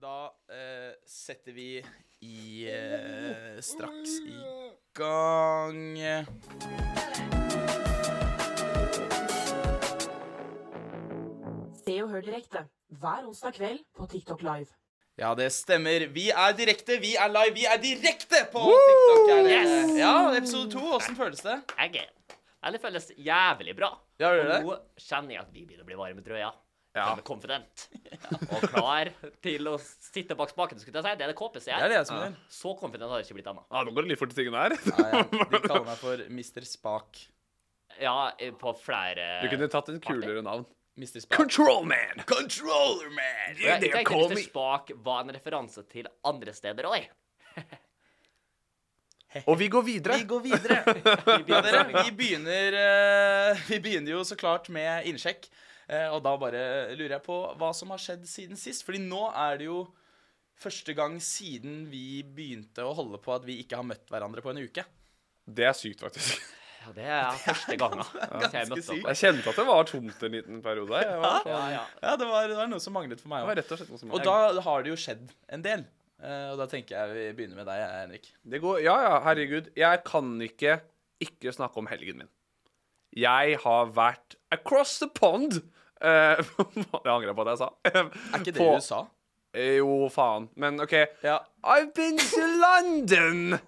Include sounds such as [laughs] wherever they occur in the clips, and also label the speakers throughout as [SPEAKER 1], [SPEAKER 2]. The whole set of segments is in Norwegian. [SPEAKER 1] Da eh, setter vi i eh, straks i gang.
[SPEAKER 2] Se og hør direkte hver onsdag kveld på TikTok Live.
[SPEAKER 1] Ja, det stemmer. Vi er direkte, vi er live, vi er direkte på TikTok. Er det.
[SPEAKER 3] Yes!
[SPEAKER 1] Ja, episode to. Åssen føles det?
[SPEAKER 3] Jeg er Men det føles jævlig bra.
[SPEAKER 1] Ja, gjør det?
[SPEAKER 3] Og nå kjenner jeg at vi begynner å bli varme i trøya.
[SPEAKER 1] Ja.
[SPEAKER 3] Jeg er Confident. Og klar til å sitte bak spaken, skulle jeg si. Det er det KPC
[SPEAKER 1] Det er
[SPEAKER 3] er.
[SPEAKER 1] det jeg som gjør.
[SPEAKER 3] Så confident har jeg ikke blitt ennå.
[SPEAKER 4] Ja, Ah, nå går det litt fort i tingene her.
[SPEAKER 1] Ja,
[SPEAKER 4] [laughs]
[SPEAKER 1] ja. De kaller meg for Mr. Spak.
[SPEAKER 3] Ja, eh, på flere
[SPEAKER 4] Du kunne tatt et kulere navn.
[SPEAKER 1] Mr. Spak.
[SPEAKER 4] Control man! Controller man!
[SPEAKER 3] Og Jeg tenkte Mr. Spak var en referanse til andre steder òg.
[SPEAKER 4] Og vi går videre.
[SPEAKER 1] Vi går videre. Ja, dere, vi begynner, eh, vi begynner jo så klart med innsjekk. Eh, og da bare lurer jeg på hva som har skjedd siden sist. Fordi nå er det jo første gang siden vi begynte å holde på at vi ikke har møtt hverandre på en uke.
[SPEAKER 4] Det er sykt, faktisk.
[SPEAKER 3] Ja, det er første gangen [laughs] jeg
[SPEAKER 1] ganske
[SPEAKER 3] møtte
[SPEAKER 1] sykt.
[SPEAKER 3] opp.
[SPEAKER 4] Jeg kjente at det var tomt en liten periode. her. Jeg var,
[SPEAKER 3] Ja, ja.
[SPEAKER 1] Ja, det var, det var noe som manglet for meg
[SPEAKER 4] det var
[SPEAKER 1] òg.
[SPEAKER 4] rett og slett noe som
[SPEAKER 1] Og da har det jo skjedd en del. Eh, og da tenker jeg vi begynner med deg, Henrik.
[SPEAKER 4] Det går, ja, ja, herregud. Jeg kan ikke ikke snakke om helgen min. Jeg har vært across the pond. Eh, [laughs] jeg angrer på det jeg sa.
[SPEAKER 1] Er ikke det
[SPEAKER 4] På-
[SPEAKER 1] du sa?
[SPEAKER 4] Eh, Jo, faen. Men OK.
[SPEAKER 1] Ja.
[SPEAKER 4] I've been to London!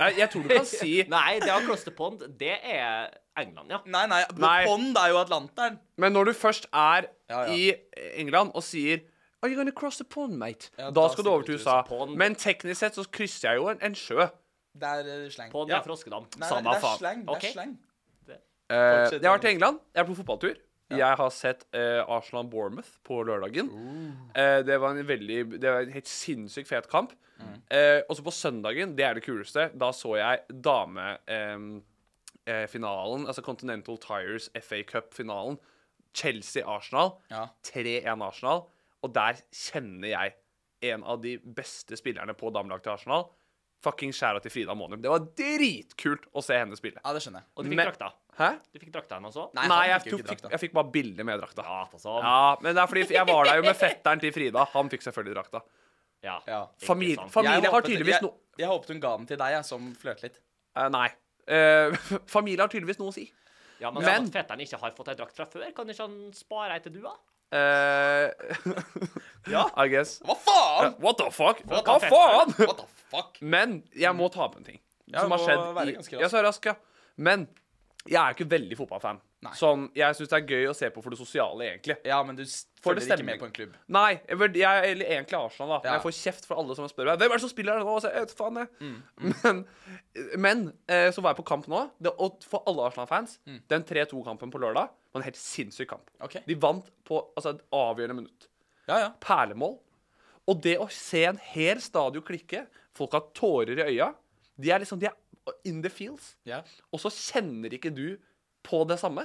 [SPEAKER 4] Nei, jeg tror du
[SPEAKER 1] [laughs]
[SPEAKER 4] kan si
[SPEAKER 3] Nei, det er Cluster Pond. Det er England, ja.
[SPEAKER 1] Nei, nei.
[SPEAKER 4] Nei.
[SPEAKER 1] Pond er jo Atlanteren.
[SPEAKER 4] Men når du først er
[SPEAKER 1] Ja, ja.
[SPEAKER 4] i England og sier Are you gonna cross the pond, mate?
[SPEAKER 1] Ja,
[SPEAKER 4] da,
[SPEAKER 1] da
[SPEAKER 4] skal du over til
[SPEAKER 1] stikker du
[SPEAKER 4] USA.
[SPEAKER 3] til pond.
[SPEAKER 4] Men teknisk sett så krysser jeg jo en, en sjø.
[SPEAKER 1] Det er eh, slang.
[SPEAKER 3] Pond
[SPEAKER 1] Ja.
[SPEAKER 3] er Froskedam.
[SPEAKER 1] Nei, nei,
[SPEAKER 3] Samme
[SPEAKER 1] det er
[SPEAKER 3] faen.
[SPEAKER 1] slang. Det er
[SPEAKER 3] Ok.
[SPEAKER 1] slang.
[SPEAKER 4] Eh, jeg har vært i England. Jeg er på fotballtur. Jeg har sett eh, Arsenal Bournemouth på lørdagen.
[SPEAKER 1] Uh.
[SPEAKER 4] Eh, det var en veldig Det var en helt sinnssykt fet kamp.
[SPEAKER 1] Mm.
[SPEAKER 4] Eh, og så på søndagen, det er det kuleste, da så jeg damefinalen, eh, finalen, altså Continental Tires FA Cup-finalen. Chelsea-Arsenal.
[SPEAKER 1] Ja.
[SPEAKER 4] 3-1 Arsenal. Og der kjenner jeg en av de beste spillerne på damelaget til Arsenal. Fucking skjæra til Frida Monum. Det var dritkult å se henne spille.
[SPEAKER 1] ja, det skjønner jeg.
[SPEAKER 3] Og du fikk
[SPEAKER 4] Men-
[SPEAKER 3] drakta.
[SPEAKER 4] Hæ?
[SPEAKER 3] Du fikk drakta henne også?
[SPEAKER 1] Nei,
[SPEAKER 4] Nei,
[SPEAKER 1] han
[SPEAKER 4] jeg,
[SPEAKER 1] fikk jo
[SPEAKER 4] tok,
[SPEAKER 1] ikke
[SPEAKER 4] fikk,
[SPEAKER 1] drakta.
[SPEAKER 4] jeg fikk bare bilde med drakta.
[SPEAKER 3] Ja, for sånn.
[SPEAKER 4] Ja, men det er fordi jeg var der jo med fetteren til Frida. Han fikk selvfølgelig drakta.
[SPEAKER 3] Ja.
[SPEAKER 1] Ja.
[SPEAKER 3] ikke
[SPEAKER 4] Famil-
[SPEAKER 3] sant.
[SPEAKER 4] fam-
[SPEAKER 1] Jeg
[SPEAKER 4] Familie har
[SPEAKER 1] håpet-
[SPEAKER 4] tydeligvis
[SPEAKER 1] jeg-
[SPEAKER 4] no-
[SPEAKER 1] Jeg håpet hun ga den til deg, jeg, som flørte litt.
[SPEAKER 4] Eh, nei. Eh, [laughs] familie har tydeligvis noe å si.
[SPEAKER 3] Ja, men,
[SPEAKER 4] Men-
[SPEAKER 3] at fetteren ikke har fått ei drakt fra før, kan ikke han spare ei til du, da?
[SPEAKER 4] Eh, [laughs]
[SPEAKER 1] Ja.
[SPEAKER 4] I guess.
[SPEAKER 1] Hva faen?!
[SPEAKER 4] What the fuck?
[SPEAKER 3] What
[SPEAKER 4] Hva
[SPEAKER 3] the
[SPEAKER 4] faen?
[SPEAKER 1] What the fuck?
[SPEAKER 4] Men jeg må ta opp en ting
[SPEAKER 1] Ja,
[SPEAKER 4] som
[SPEAKER 1] du
[SPEAKER 4] har
[SPEAKER 1] må
[SPEAKER 4] skjedd.
[SPEAKER 1] være
[SPEAKER 4] I,
[SPEAKER 1] ganske rask.
[SPEAKER 4] jeg er så rask, ja. Men jeg er ikke veldig fotballfan.
[SPEAKER 1] Nei.
[SPEAKER 4] Sånn, jeg syns det er gøy å se på for det sosiale, egentlig.
[SPEAKER 1] Ja, men du s-
[SPEAKER 4] For
[SPEAKER 1] følger
[SPEAKER 4] det
[SPEAKER 1] ikke
[SPEAKER 4] stemmer.
[SPEAKER 1] med på en klubb.
[SPEAKER 4] Nei, jeg, vurd- jeg eller egentlig Arsenal, da.
[SPEAKER 1] Ja.
[SPEAKER 4] Men jeg får kjeft fra alle som spør meg hvem er det som spiller her nå. Og så, jeg vet faen jeg.
[SPEAKER 1] Mm.
[SPEAKER 4] [laughs] Men, men eh, så var jeg på kamp nå, det, og for alle Arsenal-fans Den 3-2-kampen på lørdag var en helt sinnssyk kamp.
[SPEAKER 1] Mm. Ok.
[SPEAKER 4] De vant på altså, et avgjørende minutt.
[SPEAKER 1] Ja, ja.
[SPEAKER 4] Perlemål. Og det å se en hel stadion klikke, folk har tårer i øya De er liksom de er in the fields.
[SPEAKER 1] ja.
[SPEAKER 4] Og så kjenner ikke du på det samme.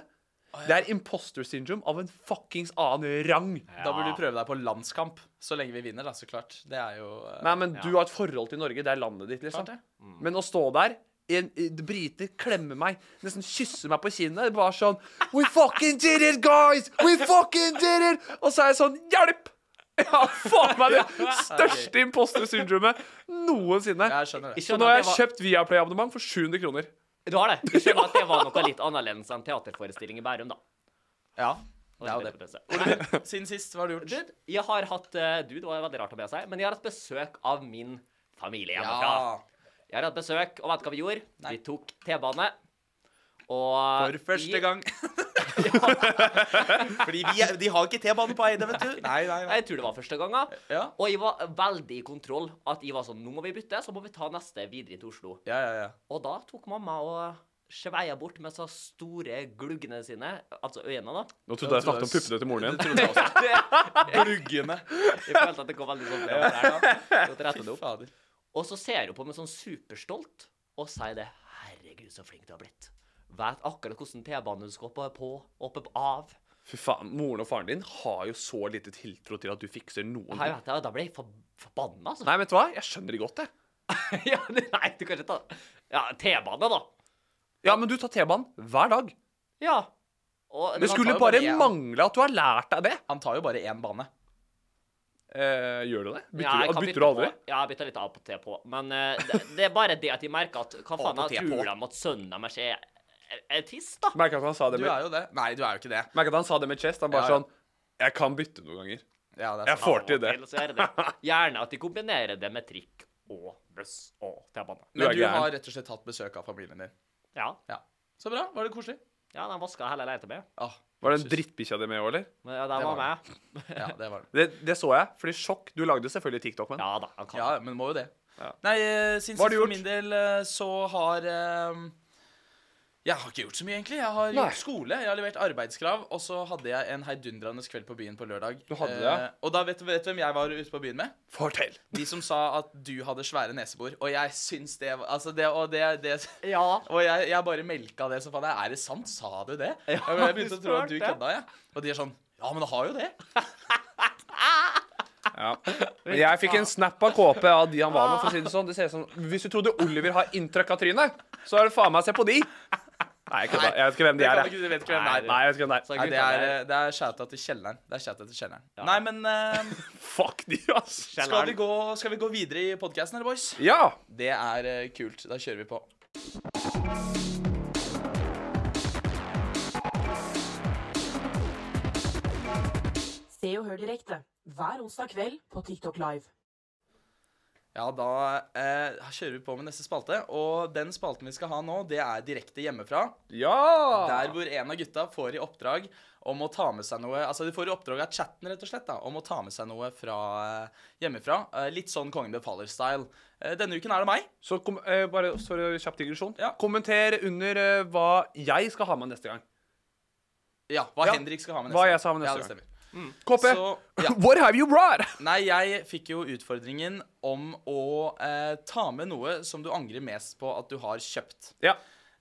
[SPEAKER 4] Det er imposter syndrome av en fuckings annen rang.
[SPEAKER 1] Da burde du prøve deg på landskamp. Så lenge vi vinner, da, så klart. Det er jo eh,
[SPEAKER 4] Nei, men
[SPEAKER 3] Ja.
[SPEAKER 4] du har et forhold til Norge. Det er landet ditt, liksom.
[SPEAKER 1] Klart det. Mm.
[SPEAKER 4] Men å stå der en, en Briter klemmer meg, nesten kysser meg på kinnet. Bare sånn We fucking did it, guys! We fucking did it! Og så er jeg sånn Hjelp! Ja, faen meg det største imposter-syndromet noensinne.
[SPEAKER 1] Jeg skjønner det.
[SPEAKER 3] Ikke
[SPEAKER 4] Så nå
[SPEAKER 3] at
[SPEAKER 4] har jeg
[SPEAKER 3] det
[SPEAKER 4] kjøpt Viaplay-abonnement for 700 kroner.
[SPEAKER 3] var- Du har det. Jeg skjønner at det var noe litt annerledes enn teaterforestilling i Bærum, da.
[SPEAKER 1] Ja.
[SPEAKER 3] Og
[SPEAKER 1] Det er jo det.
[SPEAKER 3] det. Nei,
[SPEAKER 1] Siden sist, hva har du gjort? [laughs]
[SPEAKER 3] Dude, jeg har hatt eh, Du, det var veldig rart å be seg, men jeg har hatt besøk av min familie hjemmefra.
[SPEAKER 1] Ja.
[SPEAKER 3] Jeg har hatt besøk, og vet du hva vi gjorde? Vi tok T-bane. Og
[SPEAKER 1] For første [laughs]
[SPEAKER 3] i-
[SPEAKER 1] gang. Fordi vi [laughs] er, de har ikke T-bane på Eide, vet du. Nei, nei, nei.
[SPEAKER 3] Jeg tror det var første gangen.
[SPEAKER 1] Ja.
[SPEAKER 3] Og jeg var veldig i kontroll. At jeg var sånn Nå må vi bytte, så må vi ta neste videre til Oslo.
[SPEAKER 1] Ja, ja, ja.
[SPEAKER 3] Og da tok mamma og sveia bort med så store gluggene sine, altså øynene, da.
[SPEAKER 4] Nå
[SPEAKER 1] trodde jeg snakket om puppene
[SPEAKER 4] til moren
[SPEAKER 1] Det trodde jeg også. Bluggene.
[SPEAKER 3] Jeg følte at det kom veldig sånn fram der, da. [laughs] Så rettet det
[SPEAKER 1] Fy
[SPEAKER 3] opp.
[SPEAKER 1] fader.
[SPEAKER 3] Og så ser hun på meg sånn superstolt og sier det. Herregud, så flink du har blitt. Vet akkurat hvordan T-banen du skal opp og på, opp og av.
[SPEAKER 4] Fy faen, Moren og faren din har jo så lite tiltro til at du fikser noen
[SPEAKER 3] Her
[SPEAKER 4] ting.
[SPEAKER 3] vet jeg, Da ble jeg for, forbanna, altså.
[SPEAKER 4] Nei, vet du hva? Jeg skjønner det godt, jeg.
[SPEAKER 3] [laughs] ja, nei, du kan ikke ta Ja, T-bane, da.
[SPEAKER 4] Ja, men du tar T-banen hver dag.
[SPEAKER 3] Ja. Og,
[SPEAKER 4] Det
[SPEAKER 3] men
[SPEAKER 4] skulle
[SPEAKER 1] jo
[SPEAKER 4] bare
[SPEAKER 1] bare én.
[SPEAKER 4] mangle at du har lært deg det.
[SPEAKER 1] Han tar jo bare én bane.
[SPEAKER 4] Eh, gjør du det? Bytter,
[SPEAKER 3] Ja, jeg
[SPEAKER 4] du,
[SPEAKER 3] kan
[SPEAKER 4] bytter
[SPEAKER 3] bytte
[SPEAKER 4] du aldri?
[SPEAKER 3] På. Ja, jeg bytter litt av og til på. Men eh, det, det er bare det at de merker at Hva faen,
[SPEAKER 1] og
[SPEAKER 3] jeg
[SPEAKER 1] til på.
[SPEAKER 3] tror de at sønnen deres er, er, er tiss, da?
[SPEAKER 4] Merk at han sa det
[SPEAKER 1] Du
[SPEAKER 4] med,
[SPEAKER 1] er jo det. Nei, du er jo ikke det.
[SPEAKER 4] merk at han sa det med chest. Han bare
[SPEAKER 1] Ja, ja.
[SPEAKER 4] sånn Jeg kan bytte noen ganger.
[SPEAKER 1] Ja, det er
[SPEAKER 4] Jeg
[SPEAKER 1] sånn sant.
[SPEAKER 4] får til det.
[SPEAKER 3] Ellers er det det. Gjerne at de kombinerer det med trikk og buss og T-bane.
[SPEAKER 4] Du er
[SPEAKER 1] Men du
[SPEAKER 4] gæren.
[SPEAKER 1] har rett og slett hatt besøk av familien din.
[SPEAKER 3] Ja.
[SPEAKER 1] Ja. Så bra. Var det koselig?
[SPEAKER 3] ja, de vaska hele leiligheten med.
[SPEAKER 1] Ah,
[SPEAKER 4] Var den drittbikkja di med òg, eller?
[SPEAKER 3] Men ja, de
[SPEAKER 1] Det var
[SPEAKER 3] var med.
[SPEAKER 1] ja, det var det.
[SPEAKER 4] Det, det så jeg. Fordi sjokk. Du lagde selvfølgelig TikTok, men
[SPEAKER 3] Ja da, han kan.
[SPEAKER 1] Ja, men må jo det.
[SPEAKER 4] Ja.
[SPEAKER 1] Nei, eh, siden
[SPEAKER 4] Hva har
[SPEAKER 1] sist for
[SPEAKER 4] du gjort?
[SPEAKER 1] min del eh, så har eh, Jeg har ikke gjort så mye, egentlig. Jeg har
[SPEAKER 4] Nei.
[SPEAKER 1] gjort skole, jeg har levert arbeidskrav, og så hadde jeg en heidundrende kveld på byen på lørdag.
[SPEAKER 4] Du hadde det,
[SPEAKER 1] Eh,
[SPEAKER 4] ja.
[SPEAKER 1] Og da vet du vet du hvem jeg var ute på byen med?
[SPEAKER 4] fortell!
[SPEAKER 1] De som sa at du hadde svære nesebor. Og jeg syns det var Altså, det og det, det
[SPEAKER 3] Ja.
[SPEAKER 1] og jeg, jeg bare melka det som faen. Er det sant? Sa du det?
[SPEAKER 3] Ja,
[SPEAKER 1] jeg jeg begynte
[SPEAKER 3] du
[SPEAKER 1] å tro at du
[SPEAKER 3] spurte.
[SPEAKER 1] kødda, jeg. Og de er sånn Ja, men det har jo det.
[SPEAKER 4] Ja. [laughs] Men jeg fikk en snap av KP av de han var med. for å si det sånn. Det ser ut som, Hvis du trodde Oliver har inntrykk av trynet, så er det faen meg se på de! Nei, jeg kødda. Jeg vet ikke hvem de
[SPEAKER 1] Jeg
[SPEAKER 4] er.
[SPEAKER 1] kan
[SPEAKER 4] jeg.
[SPEAKER 1] ikke, du vet ikke hvem det er.
[SPEAKER 4] Nei, jeg vet ikke hvem det er.
[SPEAKER 3] Så
[SPEAKER 1] Nei,
[SPEAKER 3] gutta
[SPEAKER 1] det er,
[SPEAKER 3] der,
[SPEAKER 1] eh, det er shouta til kjelleren. Det er shouta til kjelleren. Nei, men eh,
[SPEAKER 4] Fuck de, ass.
[SPEAKER 1] skal, vi
[SPEAKER 3] kjelleren.
[SPEAKER 1] gå, skal vi gå videre i podkasten, eller, boys?
[SPEAKER 4] Ja.
[SPEAKER 1] Det er eh, kult. Da kjører vi på.
[SPEAKER 2] Se og hør direkte hver onsdag kveld på TikTok Live.
[SPEAKER 1] Ja, da eh, kjører vi på med neste spalte. Og den spalten vi skal ha nå, det er direkte hjemmefra.
[SPEAKER 4] Ja!
[SPEAKER 1] Der hvor en av gutta får i oppdrag om å ta med seg noe Altså de får i oppdrag av chatten, rett og slett, da, om å ta med seg noe fra eh, hjemmefra. Eh, Litt sånn Kongen befaler-style. Eh, Denne uken er det meg.
[SPEAKER 4] Så kom, eh, bare sorry, kjapp digresjon.
[SPEAKER 1] Ja.
[SPEAKER 4] Kommenter under eh, hva jeg skal ha med neste gang.
[SPEAKER 1] Ja, hva
[SPEAKER 4] Ja,
[SPEAKER 1] Henrik skal ha med neste
[SPEAKER 4] hva jeg skal ha med neste
[SPEAKER 1] ja, det
[SPEAKER 4] gang.
[SPEAKER 1] stemmer.
[SPEAKER 4] KP,
[SPEAKER 1] Så, ja.
[SPEAKER 4] [laughs] what have you brought?
[SPEAKER 1] Nei, jeg fikk jo utfordringen om å eh, ta med noe som du angrer mest på at du har kjøpt.
[SPEAKER 4] Ja,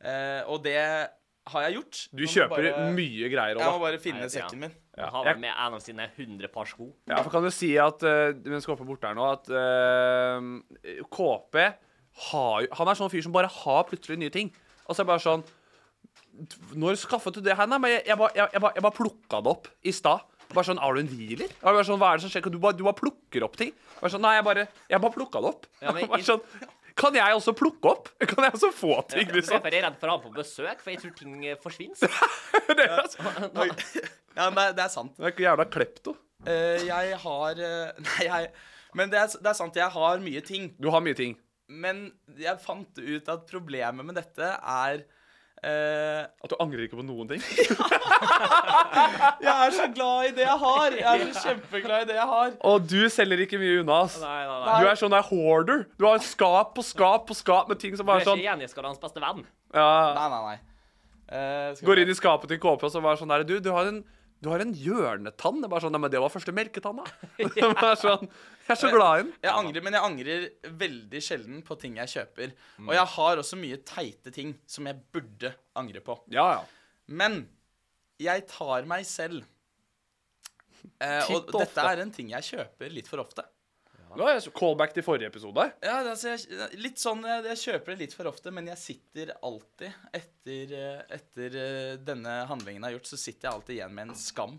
[SPEAKER 1] Eh, og det har jeg gjort.
[SPEAKER 4] du
[SPEAKER 1] Nå må
[SPEAKER 4] kjøper
[SPEAKER 1] bare-
[SPEAKER 4] mye greier
[SPEAKER 1] Jeg må
[SPEAKER 4] òg, da.
[SPEAKER 1] bare finne
[SPEAKER 3] Nei, det er-
[SPEAKER 1] sekken min.
[SPEAKER 4] Ja.
[SPEAKER 3] Han
[SPEAKER 4] Jeg-
[SPEAKER 3] var med en av sine 100 par sko.
[SPEAKER 4] Ja, for kan du si at eh, mens KP er borte her nå, at eh, KP har jo Han er sånn fyr som bare har plutselig nye ting. Og så er det bare sånn Når skaffet du det her? Nei, men jeg, jeg, bare, jeg, jeg, bare, jeg bare plukka det opp i stad. Bare sånn, Har du en dealer? Og jeg Bare sånn, Hva er det som skjer? Du bare, du bare plukker opp ting. Bare sånn, Nei, jeg bare, jeg bare plukka det opp. [laughs]
[SPEAKER 3] Ja, men-
[SPEAKER 4] bare sånn, kan jeg også plukke opp? [laughs] Kan jeg også få ting, liksom?
[SPEAKER 3] Derfor er jeg redd for å ha ham på besøk, for jeg tror ting eh, forsvinner.
[SPEAKER 4] Det er, altså,
[SPEAKER 1] Oi. Ja, men det, det er sant.
[SPEAKER 4] det er ikke jævla klepto.
[SPEAKER 1] Eh, jeg har eh, [laughs] Nei, jeg Men det er, det er sant, jeg har mye ting.
[SPEAKER 4] Du har mye ting.
[SPEAKER 1] Men jeg fant ut at problemet med dette er eh,
[SPEAKER 4] At du angrer ikke på noen ting.
[SPEAKER 3] [laughs]
[SPEAKER 1] Jeg er så glad i det jeg har! Jeg er så kjempeglad i det jeg har.
[SPEAKER 4] Og du selger ikke mye unna, ass.
[SPEAKER 3] Nei, nei, nei.
[SPEAKER 4] Du er sånn der hoarder. Du har skap på skap på skap med ting som
[SPEAKER 3] Du
[SPEAKER 4] bare
[SPEAKER 3] er
[SPEAKER 4] er
[SPEAKER 3] ikke
[SPEAKER 4] sånn
[SPEAKER 3] Jenny-skalaens beste venn.
[SPEAKER 4] ja,
[SPEAKER 1] Nei, nei, nei. Eh, skal vi-
[SPEAKER 4] Går inn i skapet til KP og så bare sånn der Du, du har en du har en hjørnetann. Det er bare sånn, Nei, men det var første melketann, da. [laughs] Det er bare sånn, jeg er så glad i den.
[SPEAKER 1] Jeg angrer, men jeg angrer veldig sjelden på ting jeg kjøper.
[SPEAKER 4] Mm.
[SPEAKER 1] Og jeg har også mye teite ting som jeg burde angre på.
[SPEAKER 4] Ja, ja.
[SPEAKER 1] Men jeg tar meg selv. Eh, og
[SPEAKER 4] Titt og
[SPEAKER 1] dette
[SPEAKER 4] ofte.
[SPEAKER 1] er en ting jeg kjøper litt for ofte.
[SPEAKER 4] Nå er jeg så callback til forrige episode.
[SPEAKER 1] Ja, altså jeg, litt sånn, jeg, jeg kjøper det litt for ofte, men jeg sitter alltid etter, eh, etter eh, denne handlingen jeg har gjort, så sitter jeg alltid igjen med en skam.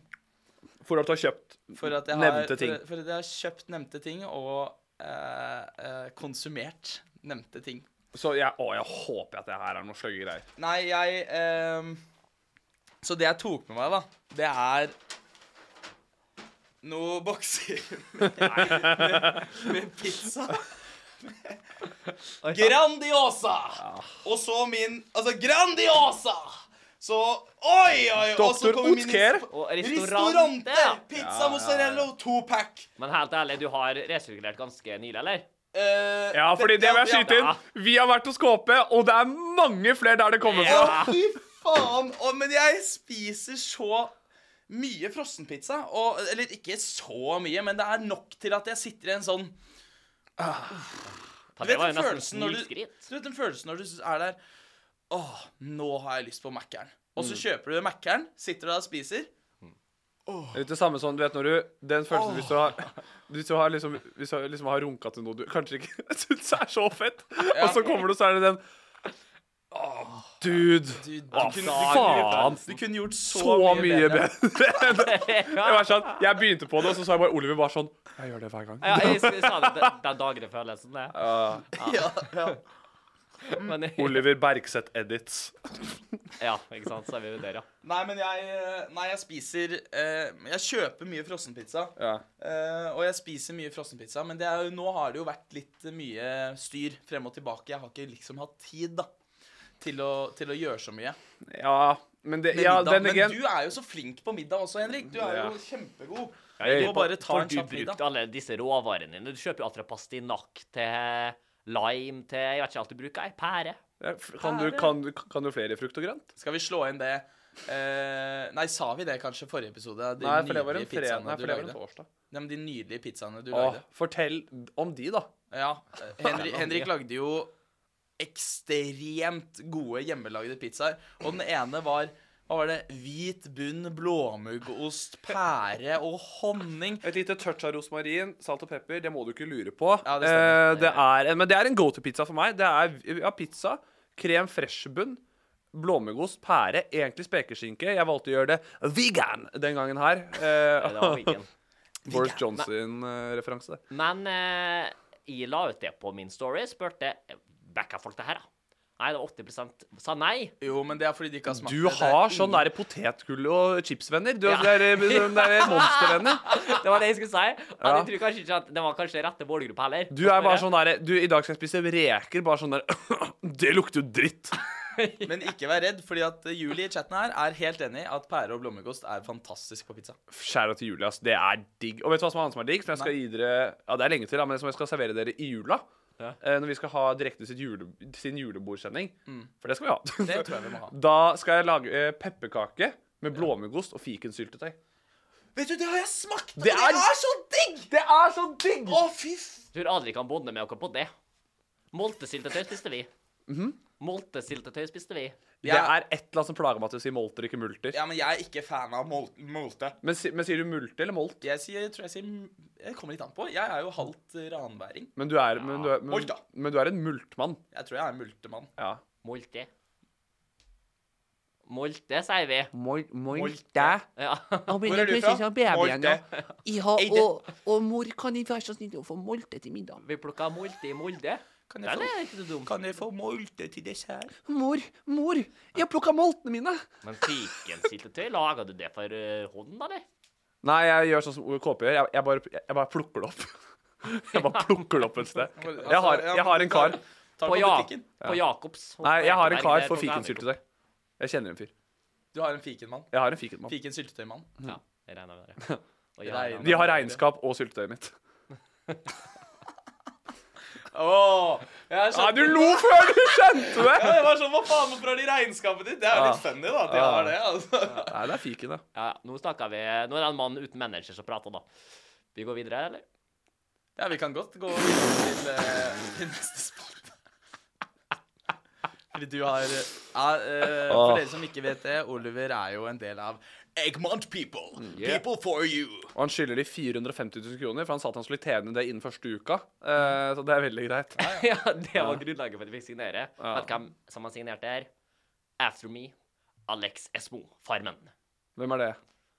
[SPEAKER 4] For at du har kjøpt
[SPEAKER 1] For at jeg har,
[SPEAKER 4] nevnte ting.
[SPEAKER 1] For, for at jeg har kjøpt nevnte ting og eh, eh, konsumert nevnte ting.
[SPEAKER 4] Så jeg, å, jeg håper at det her er noen sløye greier.
[SPEAKER 1] Nei, jeg ehm, Så det jeg tok med meg, da, det er noe bokser [laughs] med, med, med pizza. Grandiosa! Og så min Altså, Grandiosa! Så Oi, oi! og så
[SPEAKER 4] Dr.
[SPEAKER 1] kommer min
[SPEAKER 4] Oetker.
[SPEAKER 1] is-
[SPEAKER 3] Og
[SPEAKER 1] Ristorante!
[SPEAKER 3] restaurante. ja.
[SPEAKER 1] Pizza mozzarella og topack.
[SPEAKER 3] Men helt ærlig, du har resirkulert ganske nylig, eller?
[SPEAKER 1] Uh,
[SPEAKER 4] Ja, fordi det må jeg skyte inn.
[SPEAKER 3] ja.
[SPEAKER 4] Vi har vært hos KP, og det er mange flere der det kommer
[SPEAKER 1] Å,
[SPEAKER 4] fra.
[SPEAKER 1] fy faen! Å, men jeg spiser så mye frossenpizza. Og, eller ikke så mye, men det er nok til at jeg sitter i en sånn
[SPEAKER 3] Faen,
[SPEAKER 1] Du vet
[SPEAKER 3] det var jo
[SPEAKER 1] den
[SPEAKER 3] nesten
[SPEAKER 1] følelsen når du,
[SPEAKER 3] snikskritt.
[SPEAKER 1] du vet den følelsen når du er der Å, nå har jeg lyst på Mækkern. Og så kjøper du Mækkern, sitter du der og spiser.
[SPEAKER 4] Det er litt det samme som du vet når du Den følelsen hvis du har Hvis du har liksom Hvis du har- [laughs] liksom har runka til noe du kanskje ikke syns er så fett, og så kommer du, så er det den Dude.
[SPEAKER 1] Du, du,
[SPEAKER 4] Hva
[SPEAKER 1] kunne, du, kunne,
[SPEAKER 4] faen?
[SPEAKER 1] du kunne gjort så,
[SPEAKER 4] Så mye
[SPEAKER 1] bedre.
[SPEAKER 4] bedre.
[SPEAKER 3] Ja,
[SPEAKER 4] Jeg, var sånn, jeg begynte på det, og så sa jeg bare Oliver var sånn Jeg gjør det hver gang.
[SPEAKER 3] ja, jeg s- sa det den- den daglige følelsen, det.
[SPEAKER 4] Ah,
[SPEAKER 1] [laughs] Ja, ja.
[SPEAKER 3] [laughs] Men,
[SPEAKER 4] Oliver Bergseth edits.
[SPEAKER 3] ja, ikke sant, så er vi jo der, ja.
[SPEAKER 1] Nei, men jeg, eh, nei, jeg spiser eh, Jeg kjøper mye frossenpizza.
[SPEAKER 4] Ja.
[SPEAKER 1] Eh, og jeg spiser mye frossenpizza, men det er, jo- nå har det jo vært litt mye styr frem og tilbake. Jeg har ikke liksom hatt tid da til å, til å gjøre så mye.
[SPEAKER 4] Ja, men det
[SPEAKER 1] Med
[SPEAKER 4] ja,
[SPEAKER 1] middag.
[SPEAKER 4] den
[SPEAKER 1] Men
[SPEAKER 4] again.
[SPEAKER 1] du er jo så flink på middag også, Henrik. Du er
[SPEAKER 4] Ja.
[SPEAKER 1] jo kjempegod.
[SPEAKER 4] Jeg-
[SPEAKER 1] Du må bare ta
[SPEAKER 3] For
[SPEAKER 1] en kjapp
[SPEAKER 3] Du
[SPEAKER 1] middag.
[SPEAKER 3] brukte alle disse råvarene dine. Du kjøper jo alt fra pastinakk til lime til Jeg vet ikke alt du bruker. jeg. Pære.
[SPEAKER 4] Kan du, kan, du- kan du flere frukt og grønt?
[SPEAKER 1] Skal vi slå inn det eh, Nei, sa vi det kanskje i forrige episode? De
[SPEAKER 4] Nei, for det var en
[SPEAKER 1] nydelige
[SPEAKER 4] fredag.
[SPEAKER 1] pizzaene
[SPEAKER 4] Nei,
[SPEAKER 1] du
[SPEAKER 4] for det var en
[SPEAKER 1] lagde.
[SPEAKER 4] torsdag.
[SPEAKER 1] Nei, men de nydelige pizzaene du
[SPEAKER 4] Åh,
[SPEAKER 1] lagde.
[SPEAKER 4] fortell om de, da.
[SPEAKER 1] Ja. eh, Henrik, Henrik lagde jo ekstremt gode hjemmelagde pizzaer. Og den ene var hva var det? Hvit bunn, blåmuggost, pære og honning.
[SPEAKER 4] Et lite touch av rosmarin, salt og pepper, det må du ikke lure på.
[SPEAKER 1] Ja, det stemmer.
[SPEAKER 4] Eh, det er, en- men det er en go to-pizza for meg. Det er ja, pizza, krem fresh-bunn, blåmuggost, pære, egentlig spekeskinke. Jeg valgte å gjøre det vegan den gangen her. Eh, [laughs]
[SPEAKER 3] Det var vegan.
[SPEAKER 4] Boris Johnson-referanse.
[SPEAKER 3] Men eh, jeg la ut det på min story. Spurte backa folk det her, da. Nei, det var 80 sa
[SPEAKER 4] [laughs]
[SPEAKER 3] nei.
[SPEAKER 1] Jo, men det er fordi de ikke har smakt
[SPEAKER 4] Du
[SPEAKER 1] det. Det er
[SPEAKER 4] har
[SPEAKER 1] ingen-
[SPEAKER 4] sånn der potetgull og chipsvenner. Du
[SPEAKER 3] Ja.
[SPEAKER 4] har sånn ja. monstervenner.
[SPEAKER 3] Det var det jeg skulle si. Men
[SPEAKER 4] Ja.
[SPEAKER 3] jeg tror kanskje ikke at det var kanskje rette målgruppe heller.
[SPEAKER 4] Du er bare sånn der Du, i dag skal jeg spise reker. Bare sånn der [coughs] Det lukter jo dritt.
[SPEAKER 1] Men ikke vær redd, fordi at Julie i chatten her er helt enig i at pære og blåmuggost er fantastisk på pizza.
[SPEAKER 4] Skjæra til jula, ass. Det er digg. Og vet du hva som er annet som er digg? Som jeg skal gi dere Ja, det er lenge til, da, men som jeg skal servere dere i jula.
[SPEAKER 3] Ja.
[SPEAKER 4] Eh, Når vi skal ha direkte sitt jule, sin julebordsending. For det skal vi ha.
[SPEAKER 1] Det tror jeg vi må ha.
[SPEAKER 4] [laughs] Da skal jeg lage eh, pepperkake med blåmuggost og fikensyltetøy.
[SPEAKER 1] Vet du, det har jeg smakt, og
[SPEAKER 4] Det
[SPEAKER 1] det
[SPEAKER 4] er-
[SPEAKER 1] er, så digg!
[SPEAKER 4] Det er så digg!
[SPEAKER 1] Å, fy f...
[SPEAKER 3] Tror aldri kan bonde med oss på det. Moltesyltetøy spiste vi.
[SPEAKER 4] Mhm.
[SPEAKER 3] Moltesyltetøy spiste vi.
[SPEAKER 4] Det er et eller annet som plager meg til å si molter, ikke multer.
[SPEAKER 1] Ja, men jeg er ikke fan av mol molte.
[SPEAKER 4] Men, si- men sier du multe eller molt?
[SPEAKER 1] Jeg, sier, jeg tror jeg sier Jeg kommer litt an på. Jeg er jo halvt ranværing.
[SPEAKER 4] Men du er, men du er, men,
[SPEAKER 1] Molt, da.
[SPEAKER 4] men du er en multmann.
[SPEAKER 1] Jeg tror jeg er multemann.
[SPEAKER 4] Ja.
[SPEAKER 3] Molte. Molte, sier vi.
[SPEAKER 1] Molte.
[SPEAKER 3] Ja. [laughs]
[SPEAKER 1] Hvor er du fra? Molte.
[SPEAKER 5] og, og mor, kan jeg være så snill å få molte til middag?
[SPEAKER 3] Vi plukka molte i Molde.
[SPEAKER 1] Kan
[SPEAKER 3] Den
[SPEAKER 1] jeg,
[SPEAKER 3] er ikke så dum.
[SPEAKER 1] få, kan jeg få molte til dessert?
[SPEAKER 5] Mor, mor, jeg plukka moltene mine.
[SPEAKER 3] Men fikensyltetøy, laga du det for eh, hånd, eller?
[SPEAKER 4] Nei, jeg gjør sånn som KP gjør. Jeg, jeg, bare, jeg bare plukker det opp. [laughs] Jeg bare plukker det opp et sted. Jeg har, jeg har en kar
[SPEAKER 1] Altså, Ta på
[SPEAKER 3] På, ja,
[SPEAKER 1] butikken.
[SPEAKER 3] på Jacobs.
[SPEAKER 4] Nei, jeg har en
[SPEAKER 3] eh,
[SPEAKER 4] kar for fikensyltetøy. Jeg kjenner en fyr.
[SPEAKER 1] Du har en fikenmann.
[SPEAKER 4] Jeg har en fikenmann.
[SPEAKER 1] Fiken syltetøymann.
[SPEAKER 3] Ja, jeg regner med det. Og
[SPEAKER 1] Regner.
[SPEAKER 3] jeg regner med
[SPEAKER 4] De har regnskap og syltetøyet
[SPEAKER 1] [laughs]
[SPEAKER 4] mitt.
[SPEAKER 1] Åh, jeg
[SPEAKER 4] Nei, du lo før du skjønte det!
[SPEAKER 1] Det var sånn, Hva faen, hvorfor har de regnskapet ditt? Det er jo litt funny, da. at De
[SPEAKER 4] Ja.
[SPEAKER 1] har det, altså.
[SPEAKER 4] Nei, det er fiken, ja.
[SPEAKER 3] Ja, ja, nå snakker vi Nå er det en mann uten manager som prater, da. Vi går videre, eller?
[SPEAKER 1] Ja, vi kan godt gå videre til, eh, til neste spalte. Fordi du har eh, ja, eh, For
[SPEAKER 4] Åh.
[SPEAKER 1] dere som ikke vet det, Oliver er jo en del av Eggmont People. People for you.
[SPEAKER 4] Og han skylder de 450 000 kroner, for han sa at han skulle tjene det innen første uka. Eh,
[SPEAKER 1] Mm.
[SPEAKER 4] Så det er veldig greit.
[SPEAKER 3] [laughs] Ja, det var grunnlaget for at vi fikk signere. Vet du hvem som har signert der? After Me, Alex Esmo, Farmen.
[SPEAKER 4] Hvem er det?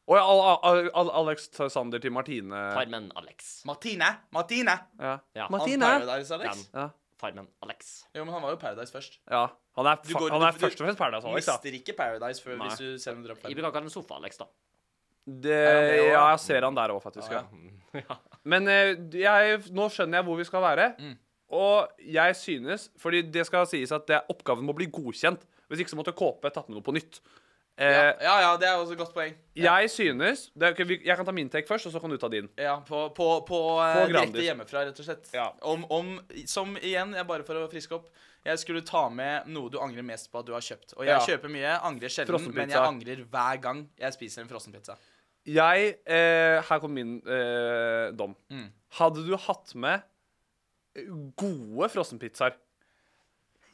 [SPEAKER 4] Å ja, Al- Al- Al- Alex Sander til Martine.
[SPEAKER 3] Farmen Alex.
[SPEAKER 1] Martine. Martine.
[SPEAKER 4] Ja.
[SPEAKER 3] Ja,
[SPEAKER 5] Martine.
[SPEAKER 1] Han Paradise, Alex.
[SPEAKER 3] den.
[SPEAKER 4] Ja.
[SPEAKER 3] Farmen Alex.
[SPEAKER 1] Jo, men han var jo Paradise først.
[SPEAKER 4] ja. Han er,
[SPEAKER 1] Du
[SPEAKER 4] fa
[SPEAKER 1] går-
[SPEAKER 4] han er
[SPEAKER 1] du- du-
[SPEAKER 4] først og fremst Paradise Alex, da.
[SPEAKER 1] Mister ikke Paradise før
[SPEAKER 4] Nei.
[SPEAKER 1] hvis du ser noen drap
[SPEAKER 3] Jeg bruker å kalle den Sofa-Alex, da.
[SPEAKER 4] Det,
[SPEAKER 1] han det også? Ah,
[SPEAKER 4] ja, jeg ser han der òg, faktisk. Ja.
[SPEAKER 1] [laughs]
[SPEAKER 3] Ja.
[SPEAKER 4] Men eh, jeg, nå skjønner jeg hvor vi skal være.
[SPEAKER 1] Mm.
[SPEAKER 4] Og jeg synes Fordi det skal sies at det, oppgaven må bli godkjent. Hvis ikke så måtte KP tatt med noe på nytt. Eh,
[SPEAKER 1] Ja, ja, ja, det er også et godt poeng.
[SPEAKER 4] Jeg synes det, er- ok, vi- Jeg kan ta min take først, og så kan du ta din.
[SPEAKER 1] Ja, På, på, på, eh,
[SPEAKER 4] På Grandis.
[SPEAKER 1] direkte hjemmefra, rett og slett.
[SPEAKER 4] Ja.
[SPEAKER 1] Om, om, som igjen, jeg bare for å friske opp Jeg skulle ta med noe du angrer mest på at du har kjøpt. Og jeg
[SPEAKER 4] Ja.
[SPEAKER 1] kjøper mye, angrer sjelden, men jeg
[SPEAKER 4] Frossenpizza.
[SPEAKER 1] angrer hver gang jeg spiser en frossenpizza.
[SPEAKER 4] Jeg eh, Her kommer min eh, dom.
[SPEAKER 1] Mm.
[SPEAKER 4] Hadde du hatt med gode frossenpizzaer,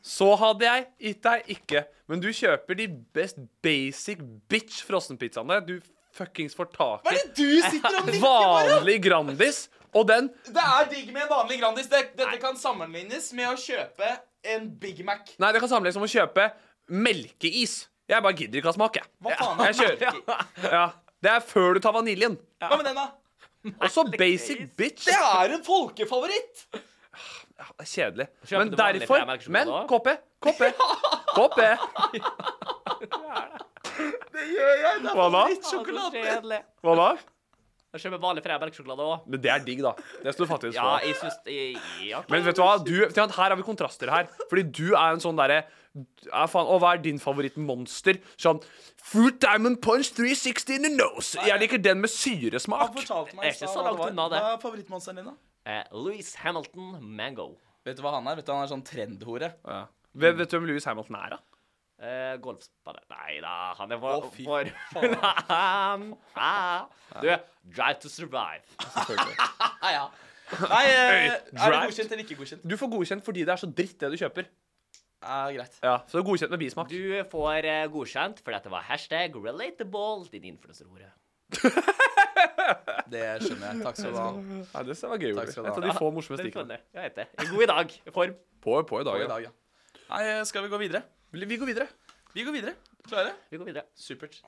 [SPEAKER 4] så hadde jeg gitt deg ikke. Men du kjøper de best basic bitch frossenpizzaene du fuckings får tak
[SPEAKER 1] Hva
[SPEAKER 4] i.
[SPEAKER 1] er det du sitter og nikker for? da?
[SPEAKER 4] Vanlig Grandis. Og den
[SPEAKER 1] Det er digg med en vanlig Grandis. Det, dette kan sammenlignes med å kjøpe en Big Mac.
[SPEAKER 4] Nei, det kan sammenlignes som å kjøpe melkeis. Jeg bare gidder ikke ha smak, jeg.
[SPEAKER 1] Hva faen
[SPEAKER 4] Jeg
[SPEAKER 1] er
[SPEAKER 4] kjører.
[SPEAKER 1] [laughs]
[SPEAKER 4] Ja. Det er før du tar vaniljen.
[SPEAKER 1] Hva med den, da?
[SPEAKER 4] Og så basic bitch.
[SPEAKER 1] Det er en folkefavoritt!
[SPEAKER 4] Det er Kjedelig.
[SPEAKER 3] Kjøper
[SPEAKER 4] Men
[SPEAKER 3] du vanlig
[SPEAKER 4] derfor
[SPEAKER 3] Freia-melk som
[SPEAKER 4] Men
[SPEAKER 3] du har?
[SPEAKER 4] KP. [laughs] KP. KP.
[SPEAKER 1] Det gjør jeg. Det er
[SPEAKER 4] Hva da?
[SPEAKER 1] favorittsjokolade.
[SPEAKER 3] Kjedelig.
[SPEAKER 4] Hva da?
[SPEAKER 3] Jeg kjøper vanlig Freia-melksjokolade òg.
[SPEAKER 4] Men det er digg, da. Det står fattigst
[SPEAKER 3] Ja,
[SPEAKER 4] på.
[SPEAKER 3] jeg syns ja.
[SPEAKER 4] Men vet du hva? Du, Tian, her har vi kontraster her. Fordi du er en sånn derre ja, faen, Og hva er din favorittmonster? Sånn Fruit Diamond Punch 360 in the nose. Jeg liker den med
[SPEAKER 1] Han
[SPEAKER 4] syresmak.
[SPEAKER 1] fortalte meg i
[SPEAKER 3] Jeg er ikke
[SPEAKER 1] stad
[SPEAKER 3] så
[SPEAKER 1] hva det
[SPEAKER 3] langt
[SPEAKER 1] var.
[SPEAKER 3] unna det.
[SPEAKER 1] Hva er favorittmonsteren din, da?
[SPEAKER 3] Eh, Louis Hamilton Mango.
[SPEAKER 1] Vet du hva han er? Vet du, Han er sånn trendhore.
[SPEAKER 4] Ja. Vet, vet du hvem Louis Hamilton er, da?
[SPEAKER 3] Eh, Golfspiller Nei da, han er vår
[SPEAKER 1] Å, fy
[SPEAKER 3] vår- [laughs] Han- ah. Du, Drive to Survive.
[SPEAKER 1] Ah, ja. Nei, eh, er det
[SPEAKER 4] Drive.
[SPEAKER 1] godkjent eller ikke godkjent?
[SPEAKER 4] Du får godkjent fordi det er så dritt, det du kjøper.
[SPEAKER 1] Ja, greit.
[SPEAKER 4] Ja, Så det er godkjent med bismak.
[SPEAKER 3] Du får eh, godkjent fordi at det var hashtag relatable, din influenserhore.
[SPEAKER 1] Det skjønner jeg. Takk skal du ha.
[SPEAKER 4] Ja, det var gøy.
[SPEAKER 1] Takk
[SPEAKER 4] Et
[SPEAKER 1] skal du ha.
[SPEAKER 4] av de få morsomme
[SPEAKER 3] Den skjønner
[SPEAKER 4] stikkene.
[SPEAKER 3] jeg. Jeg vet det. En god i dag. i Form.
[SPEAKER 4] På, på i dag,
[SPEAKER 1] Og i
[SPEAKER 4] ja.
[SPEAKER 1] dag, ja. Nei, eh, skal vi gå videre?
[SPEAKER 4] Vi går videre.
[SPEAKER 1] Vi går videre. Klare?
[SPEAKER 3] Vi går videre.
[SPEAKER 1] Supert.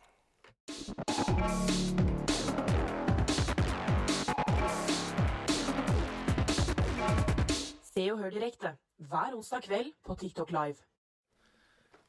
[SPEAKER 2] Se og hør direkte hver onsdag kveld på TikTok Live.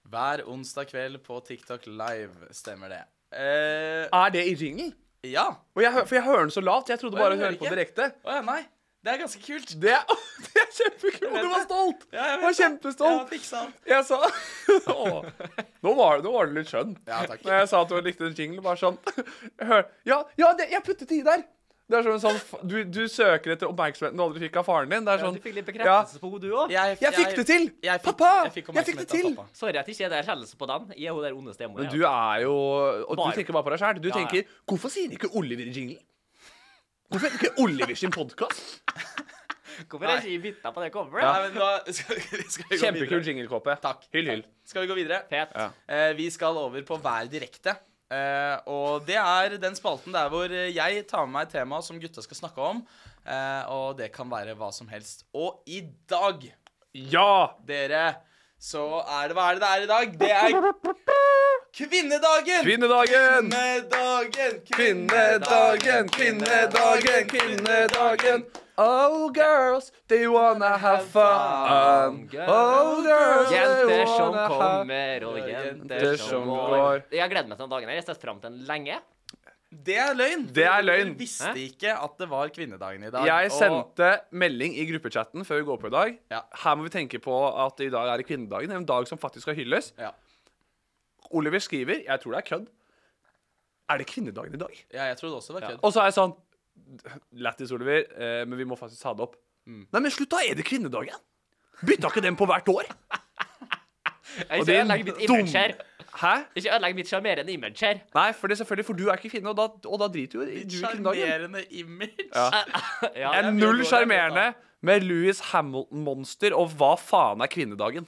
[SPEAKER 1] Hver onsdag kveld på TikTok Live, stemmer det. Eh,
[SPEAKER 4] Er det i ringen?
[SPEAKER 1] ja. Å
[SPEAKER 4] Og jeg, hø- for jeg hører den så lavt. Jeg trodde
[SPEAKER 1] Å, ja, du
[SPEAKER 4] bare å høre
[SPEAKER 1] hører
[SPEAKER 4] på
[SPEAKER 1] ikke?
[SPEAKER 4] direkte.
[SPEAKER 1] ja, nei. Det er ganske kult.
[SPEAKER 4] Det er, [laughs] det er kjempekult! Og du var stolt!
[SPEAKER 1] Ja, jeg
[SPEAKER 4] Du
[SPEAKER 1] vet det. Ja,
[SPEAKER 4] var
[SPEAKER 1] sånn.
[SPEAKER 4] kjempestolt.
[SPEAKER 1] fiksa han.
[SPEAKER 4] Jeg sa [laughs] Åh. Nå var, nå var det litt skjønn.
[SPEAKER 1] Ja, takk.
[SPEAKER 4] Når jeg sa at du likte den jinglen, bare sånn [laughs] jeg hører, Ja, ja det, jeg puttet det i der! Det er sånn, sånn f- du, du søker etter oppmerksomheten du aldri fikk av faren din. Det er
[SPEAKER 3] Ja,
[SPEAKER 4] sånn
[SPEAKER 3] du fikk litt
[SPEAKER 4] ja,
[SPEAKER 3] bekreftelse på henne, du òg.
[SPEAKER 1] Jeg,
[SPEAKER 4] Jeg fikk det til!
[SPEAKER 1] jeg fikk-
[SPEAKER 4] Pappa!
[SPEAKER 1] jeg fikk
[SPEAKER 4] Jeg fikk det
[SPEAKER 1] oppmerksomhet av
[SPEAKER 4] til!
[SPEAKER 1] pappa.
[SPEAKER 3] Sorry at ikke det er kjennelse på den. Jeg er hun der onde stemora.
[SPEAKER 4] Men du er jo Og
[SPEAKER 3] Bare-
[SPEAKER 4] du tenker bare på deg sjæl. Du
[SPEAKER 3] Ja, ja.
[SPEAKER 4] tenker 'Hvorfor sier de ikke Oliver i jinglen?' Hvorfor heter det ikke Oliver sin podkast?
[SPEAKER 3] Hvorfor er ikke jeg bytta på det coveret?
[SPEAKER 1] Nei, men da skal, vi- [laughs] skal vi gå
[SPEAKER 4] Kjempekul
[SPEAKER 1] videre.
[SPEAKER 4] jinglekåpe.
[SPEAKER 1] Takk.
[SPEAKER 4] Hyll, hyll.
[SPEAKER 1] Skal vi gå videre?
[SPEAKER 3] Fet.
[SPEAKER 4] Ja.
[SPEAKER 1] Eh, vi skal over på Vær direkte. Eh, og det er den spalten der hvor eh, jeg tar med meg et tema som gutta skal snakke om. Eh, og det kan være hva som helst. Og i dag,
[SPEAKER 4] Ja!
[SPEAKER 1] dere, så er det Hva er det det er i dag? Det er kvinnedagen!
[SPEAKER 4] Kvinnedagen!
[SPEAKER 1] Kvinnedagen!
[SPEAKER 4] Kvinnedagen, kvinnedagen, kvinnedagen. Oh, girls, they wanna have fun. Oh, girls, they
[SPEAKER 3] Jenter som
[SPEAKER 4] wanna have
[SPEAKER 3] kommer og
[SPEAKER 4] Jenter
[SPEAKER 3] jenter
[SPEAKER 4] som
[SPEAKER 3] som går.
[SPEAKER 4] går.
[SPEAKER 3] Jeg gleder meg til den dagen. her. Jeg har sett fram til den lenge.
[SPEAKER 1] Det er løgn.
[SPEAKER 4] Det er løgn.
[SPEAKER 1] Jeg visste
[SPEAKER 3] Hæ?
[SPEAKER 1] ikke at det var kvinnedagen i dag.
[SPEAKER 4] Jeg
[SPEAKER 1] og-
[SPEAKER 4] sendte melding i gruppechatten før vi går på i dag.
[SPEAKER 1] Ja.
[SPEAKER 4] Her må vi tenke på at i dag er det kvinnedagen. En dag som faktisk skal hylles.
[SPEAKER 1] Ja.
[SPEAKER 4] Oliver skriver Jeg tror det er kødd. Er det kvinnedagen i dag?
[SPEAKER 1] ja, jeg trodde også det var kødd.
[SPEAKER 4] Og så er jeg sånn Lættis, Oliver, eh, men vi må faktisk ta det opp.
[SPEAKER 3] Mm.
[SPEAKER 4] Nei, men slutt, da! Er det kvinnedagen? Bytta ikke den på hvert år?
[SPEAKER 3] Jeg
[SPEAKER 4] Og
[SPEAKER 3] ikke
[SPEAKER 4] din
[SPEAKER 3] ødelegg mitt
[SPEAKER 4] dum-
[SPEAKER 3] image her.
[SPEAKER 4] Hæ?
[SPEAKER 3] Ikke ødelegg mitt sjarmerende image her.
[SPEAKER 4] Nei, for det selvfølgelig, for du er ikke kvinne, og da, og da driter jo i- du i kvinnedagen.
[SPEAKER 1] Sjarmerende image.
[SPEAKER 4] Ja.
[SPEAKER 3] Ja,
[SPEAKER 4] Jeg er
[SPEAKER 1] mye
[SPEAKER 4] null
[SPEAKER 1] dårligere,
[SPEAKER 4] sjarmerende med Louis Hamilton-monster og hva faen er kvinnedagen?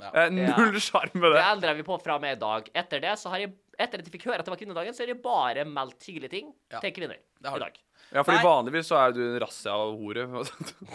[SPEAKER 1] Ja.
[SPEAKER 4] Eh, Null sjarm med
[SPEAKER 3] Det
[SPEAKER 4] det.
[SPEAKER 3] endra vi på fra og med i dag. Etter det så har jeg etter at jeg fikk høre at det var kvinnedagen, så har jeg bare meldt hyggelige ting
[SPEAKER 1] Ja,
[SPEAKER 3] til kvinner.
[SPEAKER 1] har
[SPEAKER 3] i
[SPEAKER 1] du.
[SPEAKER 3] dag.
[SPEAKER 4] Ja, fordi
[SPEAKER 1] Nei.
[SPEAKER 4] vanligvis så er du en rasse av hore. [laughs]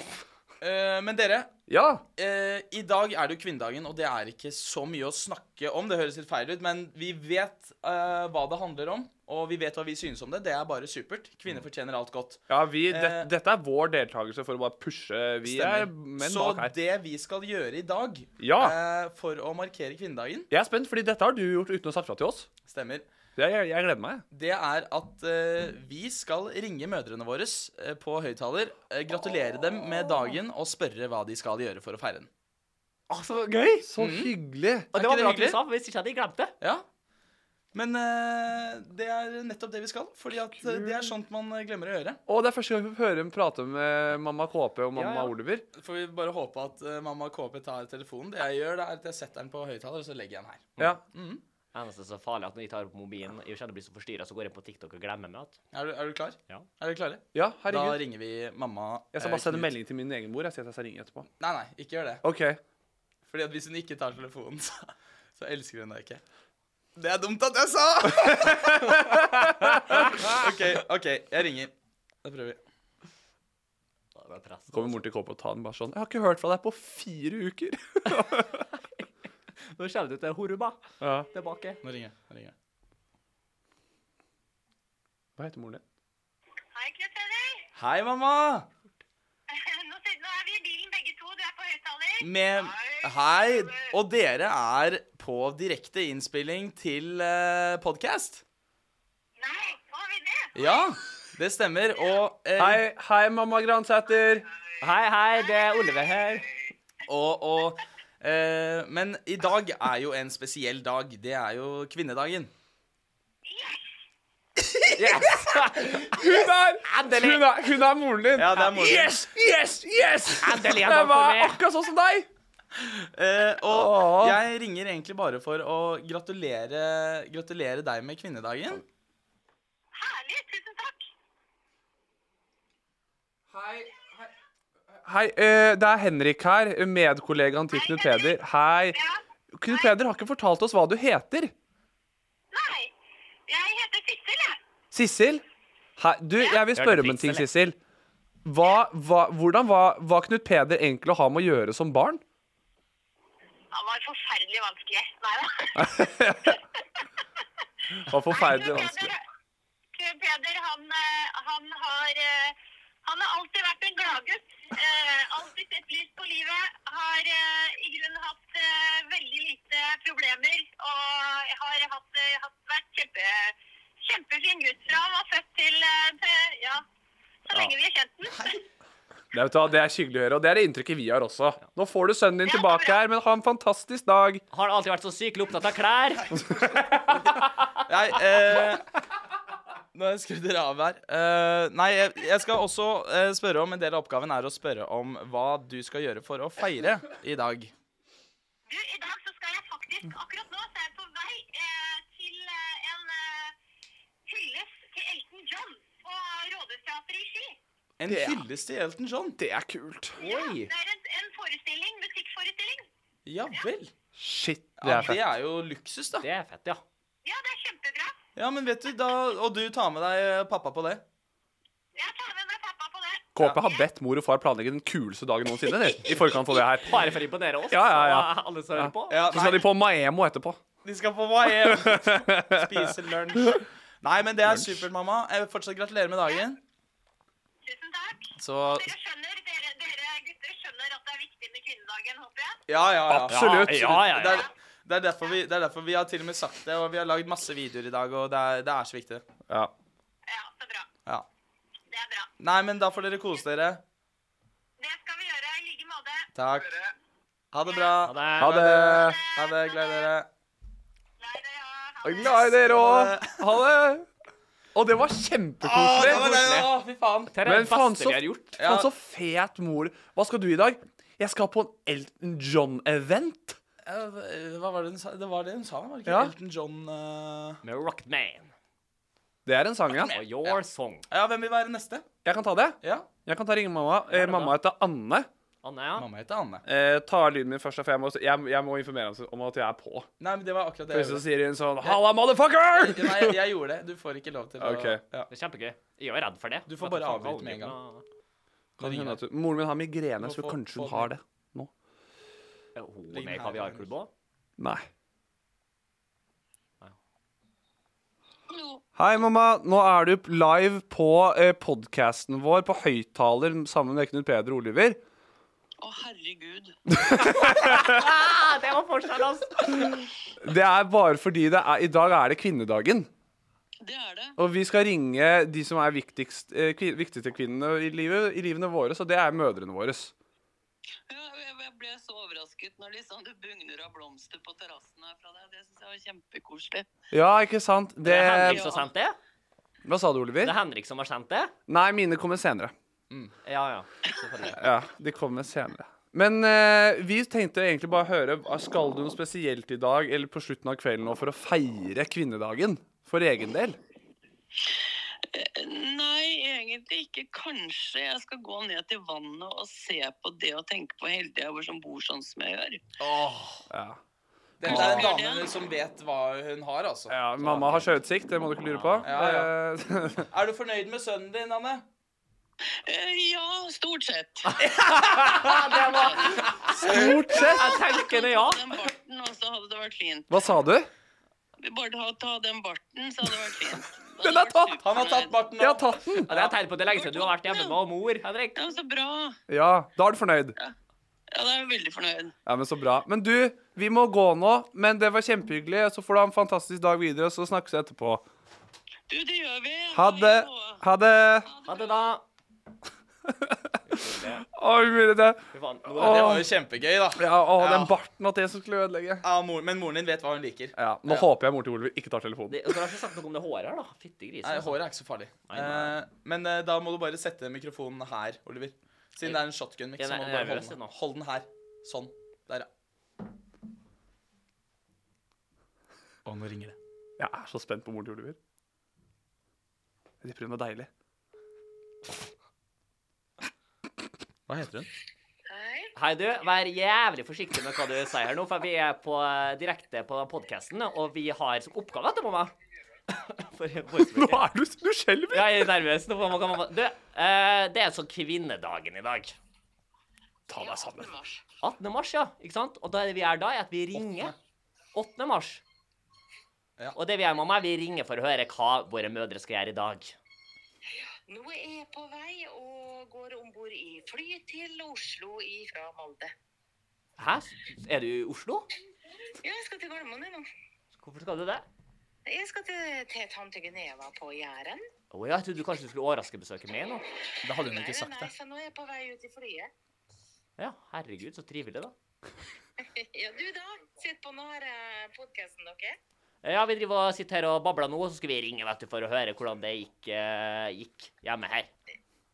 [SPEAKER 1] Eh, men dere,
[SPEAKER 4] Ja.
[SPEAKER 1] eh, i dag er det jo kvinnedagen, og det er ikke så mye å snakke om. Det høres litt feil ut, men vi vet eh, hva det handler om, og vi vet hva vi synes om det. Det er bare supert. Kvinner
[SPEAKER 4] Mm.
[SPEAKER 1] fortjener alt godt.
[SPEAKER 4] ja
[SPEAKER 1] Eh.
[SPEAKER 4] vi, det, dette er vår deltakelse for å bare pushe. Vi er menn
[SPEAKER 1] så
[SPEAKER 4] bak her.
[SPEAKER 1] det vi skal gjøre i dag
[SPEAKER 4] Ja.
[SPEAKER 1] eh, for å markere kvinnedagen,
[SPEAKER 4] Jeg er spent, fordi dette har du gjort uten å sagt fra til oss.
[SPEAKER 1] stemmer,
[SPEAKER 4] Jeg, jeg, jeg gleder meg.
[SPEAKER 1] det er at eh, vi skal ringe mødrene våre eh, på høyttaler, eh, gratulere dem med dagen og spørre hva de skal gjøre for å feire den.
[SPEAKER 3] Å, så gøy!
[SPEAKER 4] Så hyggelig.
[SPEAKER 3] Og
[SPEAKER 1] Er
[SPEAKER 3] det
[SPEAKER 1] ikke
[SPEAKER 3] var
[SPEAKER 1] det
[SPEAKER 3] bra at du
[SPEAKER 1] hyggelig?
[SPEAKER 3] sa, for hvis ikke hadde jeg glemt det.
[SPEAKER 1] Ja. Men eh, det er nettopp det vi skal, fordi at eh, det er sånt man eh, glemmer å gjøre.
[SPEAKER 4] Og det er første gang vi hører henne prate med mamma KP og mamma
[SPEAKER 3] Ja, Mm. ja.
[SPEAKER 4] Oliver.
[SPEAKER 1] Får vi bare håpe at eh, mamma KP tar telefonen. Det jeg gjør, det er at jeg setter den på høyttaler, og så legger jeg den her.
[SPEAKER 4] Ja.
[SPEAKER 3] Eneste som er farlig, er at når jeg tar opp mobilen og jeg kjenner jeg blir så forstyrra, så går jeg på TikTok og glemmer meg. at-
[SPEAKER 1] Er du, er du klar?
[SPEAKER 3] Ja.
[SPEAKER 1] Er dere klare?
[SPEAKER 4] ja,
[SPEAKER 1] Da
[SPEAKER 4] herregud.
[SPEAKER 1] ringer vi mamma
[SPEAKER 4] Jeg skal
[SPEAKER 1] eh,
[SPEAKER 4] bare sende
[SPEAKER 1] Knut.
[SPEAKER 4] melding til min egen mor. Jeg sier at jeg skal ringe etterpå.
[SPEAKER 1] Nei, nei, ikke gjør det.
[SPEAKER 4] Ok,
[SPEAKER 1] Fordi at hvis hun ikke tar telefonen, [laughs] så, så elsker hun deg ikke. Det er dumt at jeg sa! [laughs] OK, ok, jeg ringer. Da prøver vi.
[SPEAKER 3] med pressen.
[SPEAKER 4] Kommer moren til Kåpe og tar den bare sånn 'Jeg har ikke hørt fra deg på fire uker'.
[SPEAKER 3] Nå kommer du til Horuma
[SPEAKER 4] ja. [laughs]
[SPEAKER 3] tilbake.
[SPEAKER 1] Nå ringer jeg. Nå ringer jeg.
[SPEAKER 4] Hva heter moren din?
[SPEAKER 6] Hei, Knut Peder.
[SPEAKER 1] Hei, mamma!
[SPEAKER 6] [laughs] Nå, sitter, nå er vi i bilen begge to. Du er på høyttaler.
[SPEAKER 1] Med Hei! Og dere er på direkte innspilling til eh, podkast.
[SPEAKER 6] Nei, var vi det?
[SPEAKER 1] Ja, det stemmer. Og, eh,
[SPEAKER 4] Hei, hei, mamma Gransæter.
[SPEAKER 3] Hei, hei, det er Olive her.
[SPEAKER 1] og, og eh, Men i dag er jo en spesiell dag. Det er jo kvinnedagen.
[SPEAKER 3] Yes!
[SPEAKER 4] Hun er,
[SPEAKER 3] Endelig!
[SPEAKER 4] hun er, hun er moren din.
[SPEAKER 1] Ja, det er moren din.
[SPEAKER 4] Yes, yes, yes!
[SPEAKER 3] Endelig er
[SPEAKER 4] Jeg
[SPEAKER 3] det for
[SPEAKER 4] var
[SPEAKER 3] meg.
[SPEAKER 4] akkurat sånn som deg.
[SPEAKER 1] Eh, og
[SPEAKER 4] Åh.
[SPEAKER 1] jeg ringer egentlig bare for å gratulere, gratulere deg med kvinnedagen.
[SPEAKER 6] Herlig. Tusen takk.
[SPEAKER 4] Hei, eh, det er Henrik her, medkollegaen til Knut Peder. Hei.
[SPEAKER 6] Ja.
[SPEAKER 4] Knut Peder har ikke fortalt oss hva du heter.
[SPEAKER 6] Nei. Jeg heter Sissel, jeg.
[SPEAKER 4] Sissel? Hei, du, jeg vil
[SPEAKER 3] Ja,
[SPEAKER 4] spørre
[SPEAKER 3] du
[SPEAKER 4] om en ting,
[SPEAKER 3] fikser det.
[SPEAKER 4] Sissel. Hva, hva, hvordan var, var Knut Peder egentlig å ha med å gjøre som barn?
[SPEAKER 6] Han var forferdelig vanskelig. Nei da.
[SPEAKER 4] Var forferdelig vanskelig.
[SPEAKER 6] Knut Peder, han, eh, han har eh, han har alltid vært en gladgutt. eh, Alltid sett lys på livet. Har eh, i grunnen hatt eh, veldig lite problemer. Og har hatt, eh, hatt vært kjempe, kjempefin gutt fra han var født til, eh, til Ja, så lenge vi har kjent den.
[SPEAKER 4] Det, vet du, hva, det er hyggelig å høre, og det er det inntrykket vi har også. Nå får du sønnen din
[SPEAKER 6] Ja,
[SPEAKER 4] tilbake
[SPEAKER 6] bra.
[SPEAKER 4] her, men ha en fantastisk dag.
[SPEAKER 3] Har alltid vært så sykelig opptatt av klær.
[SPEAKER 1] Nei, eh, nå skrur dere av her. Eh, nei, jeg, jeg skal også eh, spørre om En del av oppgaven er å spørre om hva du skal gjøre for å feire i dag.
[SPEAKER 6] Du, i dag så skal jeg faktisk Akkurat nå så er jeg på vei eh, til eh, en eh, hyllest til Elton John på Rådhusteatret i Ski.
[SPEAKER 1] En hyllest til Elton John.
[SPEAKER 4] Det er kult.
[SPEAKER 6] Ja,
[SPEAKER 3] Oi.
[SPEAKER 6] det er en, en forestilling, musikkforestilling.
[SPEAKER 1] Ja vel.
[SPEAKER 4] Shit, det
[SPEAKER 1] Ja,
[SPEAKER 4] er
[SPEAKER 1] det
[SPEAKER 4] fett.
[SPEAKER 1] er jo luksus, da.
[SPEAKER 3] Det er fett, ja.
[SPEAKER 6] Ja, det er kjempebra.
[SPEAKER 1] Ja, men vet du, da Og du tar med deg eh, pappa på det.
[SPEAKER 6] Jeg tar med meg pappa på det.
[SPEAKER 4] KP har bedt mor og far planlegge den kuleste dagen noensinne de, i forkant for det her.
[SPEAKER 3] Bare for å imponere oss.
[SPEAKER 4] Ja, ja, ja.
[SPEAKER 3] og Alle som hører på.
[SPEAKER 1] Ja,
[SPEAKER 4] Så skal de på Maemo etterpå.
[SPEAKER 1] De skal på
[SPEAKER 4] [laughs]
[SPEAKER 1] hjem Spise lunsj. Nei, men det er supert, mamma. Jeg vil fortsatt gratulere med dagen.
[SPEAKER 6] Tusen takk.
[SPEAKER 1] Så
[SPEAKER 6] Dere skjønner, dere, dere gutter skjønner at det er viktig med kvinnedagen, håper jeg.
[SPEAKER 1] Ja, ja, ja.
[SPEAKER 4] Absolutt.
[SPEAKER 3] Ja, ja,
[SPEAKER 1] Det
[SPEAKER 3] ja.
[SPEAKER 1] er, det, er derfor vi, det er derfor vi har til og med sagt det, og vi har lagd masse videoer i dag, og det er, det er så viktig.
[SPEAKER 4] Ja.
[SPEAKER 6] Ja, så bra.
[SPEAKER 1] Ja.
[SPEAKER 6] Det er bra.
[SPEAKER 1] Nei, men da får dere kose dere.
[SPEAKER 6] Det skal vi gjøre. I like måte.
[SPEAKER 1] Takk. Ha det bra.
[SPEAKER 3] det er-
[SPEAKER 4] Ha det.
[SPEAKER 1] Ha det. Glad i dere.
[SPEAKER 6] Nei, det er, ha det.
[SPEAKER 4] Jeg er glad i dere òg. Ha det. Og det var
[SPEAKER 1] Ah,
[SPEAKER 4] kjempekoselig.
[SPEAKER 1] Å, fy faen.
[SPEAKER 3] Det er
[SPEAKER 4] Men
[SPEAKER 3] det
[SPEAKER 4] faen
[SPEAKER 3] beste
[SPEAKER 4] så,
[SPEAKER 3] vi har gjort.
[SPEAKER 1] Ja.
[SPEAKER 4] faen så fet mor. Hva skal du i dag? Jeg skal på en Elton John-event.
[SPEAKER 1] Ja, Eh, Hva var det hun sa? Det var det hun sa, var det ikke?
[SPEAKER 4] Ja.
[SPEAKER 1] Elton John eh,
[SPEAKER 3] Med Rockman
[SPEAKER 4] Det er en sang, ja.
[SPEAKER 3] og Your Song.
[SPEAKER 1] Ja, hvem vil være neste?
[SPEAKER 4] Jeg kan ta det.
[SPEAKER 1] Ja.
[SPEAKER 4] Jeg kan ta ringe mamma. Eh, mamma heter Anne.
[SPEAKER 3] Anne, ja.
[SPEAKER 1] Mamma heter Anne.
[SPEAKER 4] Eh, ta lyden min først, for jeg må, jeg, jeg må informere om- om at jeg er på.
[SPEAKER 1] Nei, men det var akkurat det jeg
[SPEAKER 4] Plutselig
[SPEAKER 1] gjorde.
[SPEAKER 4] sier hun sånn Halla, motherfucker!
[SPEAKER 1] Nei, jeg gjorde [laughs] det. Du får ikke lov til å
[SPEAKER 4] Ok.
[SPEAKER 1] ja.
[SPEAKER 3] Det er kjempegøy. Jeg er jo redd for det.
[SPEAKER 1] Du får
[SPEAKER 3] Vet
[SPEAKER 1] bare
[SPEAKER 3] faen hva
[SPEAKER 1] avbryte med en gang.
[SPEAKER 3] ungen-
[SPEAKER 4] Kan hende at du- Moren min har migrene,
[SPEAKER 1] Må
[SPEAKER 4] så
[SPEAKER 1] få-
[SPEAKER 4] kanskje hun
[SPEAKER 1] få
[SPEAKER 4] har
[SPEAKER 1] den.
[SPEAKER 4] det nå.
[SPEAKER 3] Er Hun
[SPEAKER 1] Ligg
[SPEAKER 3] med i
[SPEAKER 1] her,
[SPEAKER 3] kaviarklubb òg?
[SPEAKER 4] Nei.
[SPEAKER 6] Hallo.
[SPEAKER 4] Hei, mamma. Nå er du live på eh, podkasten vår på høyttaler sammen med Knut Peder og Oliver.
[SPEAKER 7] Å, herregud.
[SPEAKER 3] Ah, det var fortsatt, altså!
[SPEAKER 4] Det er bare fordi det er, i dag er det kvinnedagen.
[SPEAKER 7] Det er det.
[SPEAKER 4] Og vi skal ringe de som er viktigst, eh, kvi, viktigste kvinnene i, livet, i livene våre, så det er mødrene våre.
[SPEAKER 7] Jeg, jeg, jeg ble så overrasket når liksom det bugner av blomster på terrassen her fra deg. Det syns jeg var kjempekoselig.
[SPEAKER 4] Ja, ikke sant?
[SPEAKER 3] Det er Henrik
[SPEAKER 4] Det
[SPEAKER 3] som har sendt det?
[SPEAKER 4] Hva sa du,
[SPEAKER 3] Det
[SPEAKER 4] Oliver?
[SPEAKER 3] er Henrik som har sendt det?
[SPEAKER 4] Nei, mine kommer senere.
[SPEAKER 3] Ja, ja. Selvfølgelig.
[SPEAKER 4] Ja, de kommer senere. Men eh, vi tenkte egentlig bare høre hva- Skal du noe spesielt i dag eller på slutten av kvelden nå for å feire kvinnedagen? For egen del?
[SPEAKER 7] Eh, Nei, egentlig ikke. Kanskje jeg skal gå ned til vannet og se på det og tenke på heldigheten som bor sånn som jeg gjør.
[SPEAKER 4] Ja.
[SPEAKER 1] Det det er en dame som vet hva hun har, altså.
[SPEAKER 4] ja mamma har sjøutsikt, det må du ikke lure på.
[SPEAKER 1] Ja,
[SPEAKER 4] Eh, [laughs]
[SPEAKER 1] Er du fornøyd med sønnen din, Anne?
[SPEAKER 7] Eh, ja, stort
[SPEAKER 4] [laughs]
[SPEAKER 7] sett.
[SPEAKER 4] Stort sett.
[SPEAKER 3] Jeg tenker det, ja.
[SPEAKER 7] Den barten, og så hadde det vært fint.
[SPEAKER 4] Hva sa du?
[SPEAKER 7] Vi Bare ta, ta den barten, så hadde det vært fint.
[SPEAKER 4] [laughs]
[SPEAKER 7] Da
[SPEAKER 4] Den
[SPEAKER 7] hadde
[SPEAKER 4] er tatt.
[SPEAKER 7] jeg vært
[SPEAKER 1] Han har tatt
[SPEAKER 7] superfornøyd.
[SPEAKER 1] barten
[SPEAKER 4] Jeg har
[SPEAKER 1] nå.
[SPEAKER 4] tatt den.
[SPEAKER 3] Ja, Det er tegn på at det er lenge siden du har vært hjemme med mor, Henrik.
[SPEAKER 7] Ja, så bra.
[SPEAKER 4] Ja, da er du fornøyd.
[SPEAKER 7] Ja, da er jeg veldig fornøyd.
[SPEAKER 4] Ja, men Så bra. Men du, vi må gå nå. Men det var kjempehyggelig. Så får du ha en fantastisk dag videre, så snakkes vi etterpå.
[SPEAKER 7] Du, det gjør vi.
[SPEAKER 4] Ha det. Ha det.
[SPEAKER 3] Ha det, da.
[SPEAKER 4] Å, umulig det.
[SPEAKER 3] Fy faen, nå
[SPEAKER 1] Ja,
[SPEAKER 3] er
[SPEAKER 1] det
[SPEAKER 3] det-
[SPEAKER 1] var jo kjempegøy, da.
[SPEAKER 4] Ja, å,
[SPEAKER 1] Ja.
[SPEAKER 4] den barten at det som skulle ødelegge.
[SPEAKER 1] Ja, mor, men moren din vet hva hun liker.
[SPEAKER 4] Ja, Nå håper jeg mor til Oliver ikke tar telefonen.
[SPEAKER 3] det- Dere har ikke sagt noe om det håret her, da. Fytti grisen.
[SPEAKER 1] Nei,
[SPEAKER 3] altså.
[SPEAKER 1] Håret er ikke så farlig.
[SPEAKER 3] Nei, nei.
[SPEAKER 1] Eh, men eh, da må du bare sette mikrofonen her, Oliver. Siden det er en shotgun-mic.
[SPEAKER 3] Jeg
[SPEAKER 1] så må
[SPEAKER 3] er
[SPEAKER 1] du bare
[SPEAKER 3] nervøs
[SPEAKER 1] holde den.
[SPEAKER 3] nå.
[SPEAKER 1] Hold den her. Sånn. Der, ja. Og nå ringer det.
[SPEAKER 4] Jeg er så spent på moren til Oliver. Jeg tipper hun var deilig.
[SPEAKER 1] Hva heter hun?
[SPEAKER 3] Hei, du. Vær jævlig forsiktig med hva du sier her nå, for vi er på, eh, direkte på podkasten, og vi har som oppgave etterpå meg [laughs] For
[SPEAKER 4] Nå
[SPEAKER 3] voicebrooker.
[SPEAKER 4] er du, du skjelver!
[SPEAKER 3] Jeg er nervøs. Nå må- kan man- Du, eh, det er sånn kvinnedagen i dag.
[SPEAKER 4] Ta deg sammen.
[SPEAKER 3] 18. mars, ja. Ikke sant? Og det vi gjør da, er at vi ringer. 8. mars.
[SPEAKER 1] Ja.
[SPEAKER 3] Og det vi gjør, mamma, vi ringer for å høre hva våre mødre skal gjøre i dag.
[SPEAKER 6] Nå er jeg på vei og går om bord i fly til Oslo fra Molde.
[SPEAKER 3] Hæ? Er du i Oslo?
[SPEAKER 6] Ja, jeg skal til Gardermoen jeg, nå.
[SPEAKER 3] Hvorfor skal du det?
[SPEAKER 6] Jeg skal til, til tante Guneva på Jæren.
[SPEAKER 3] Å ja, jeg trodde du kanskje du skulle overraskebesøke meg nå.
[SPEAKER 1] Det hadde hun
[SPEAKER 6] Nei,
[SPEAKER 1] ikke
[SPEAKER 6] nei,
[SPEAKER 1] sagt,
[SPEAKER 6] nei,
[SPEAKER 1] det.
[SPEAKER 6] så nå er jeg på vei ut i flyet. [laughs]
[SPEAKER 3] Ja, herregud, så trivelig, da.
[SPEAKER 6] Ja, du da? Sitt på denne podkasten, dere.
[SPEAKER 3] Ja, vi driver og sitter her og babler nå, og så skal vi ringe vet du, for å høre hvordan det gikk, eh, gikk hjemme her.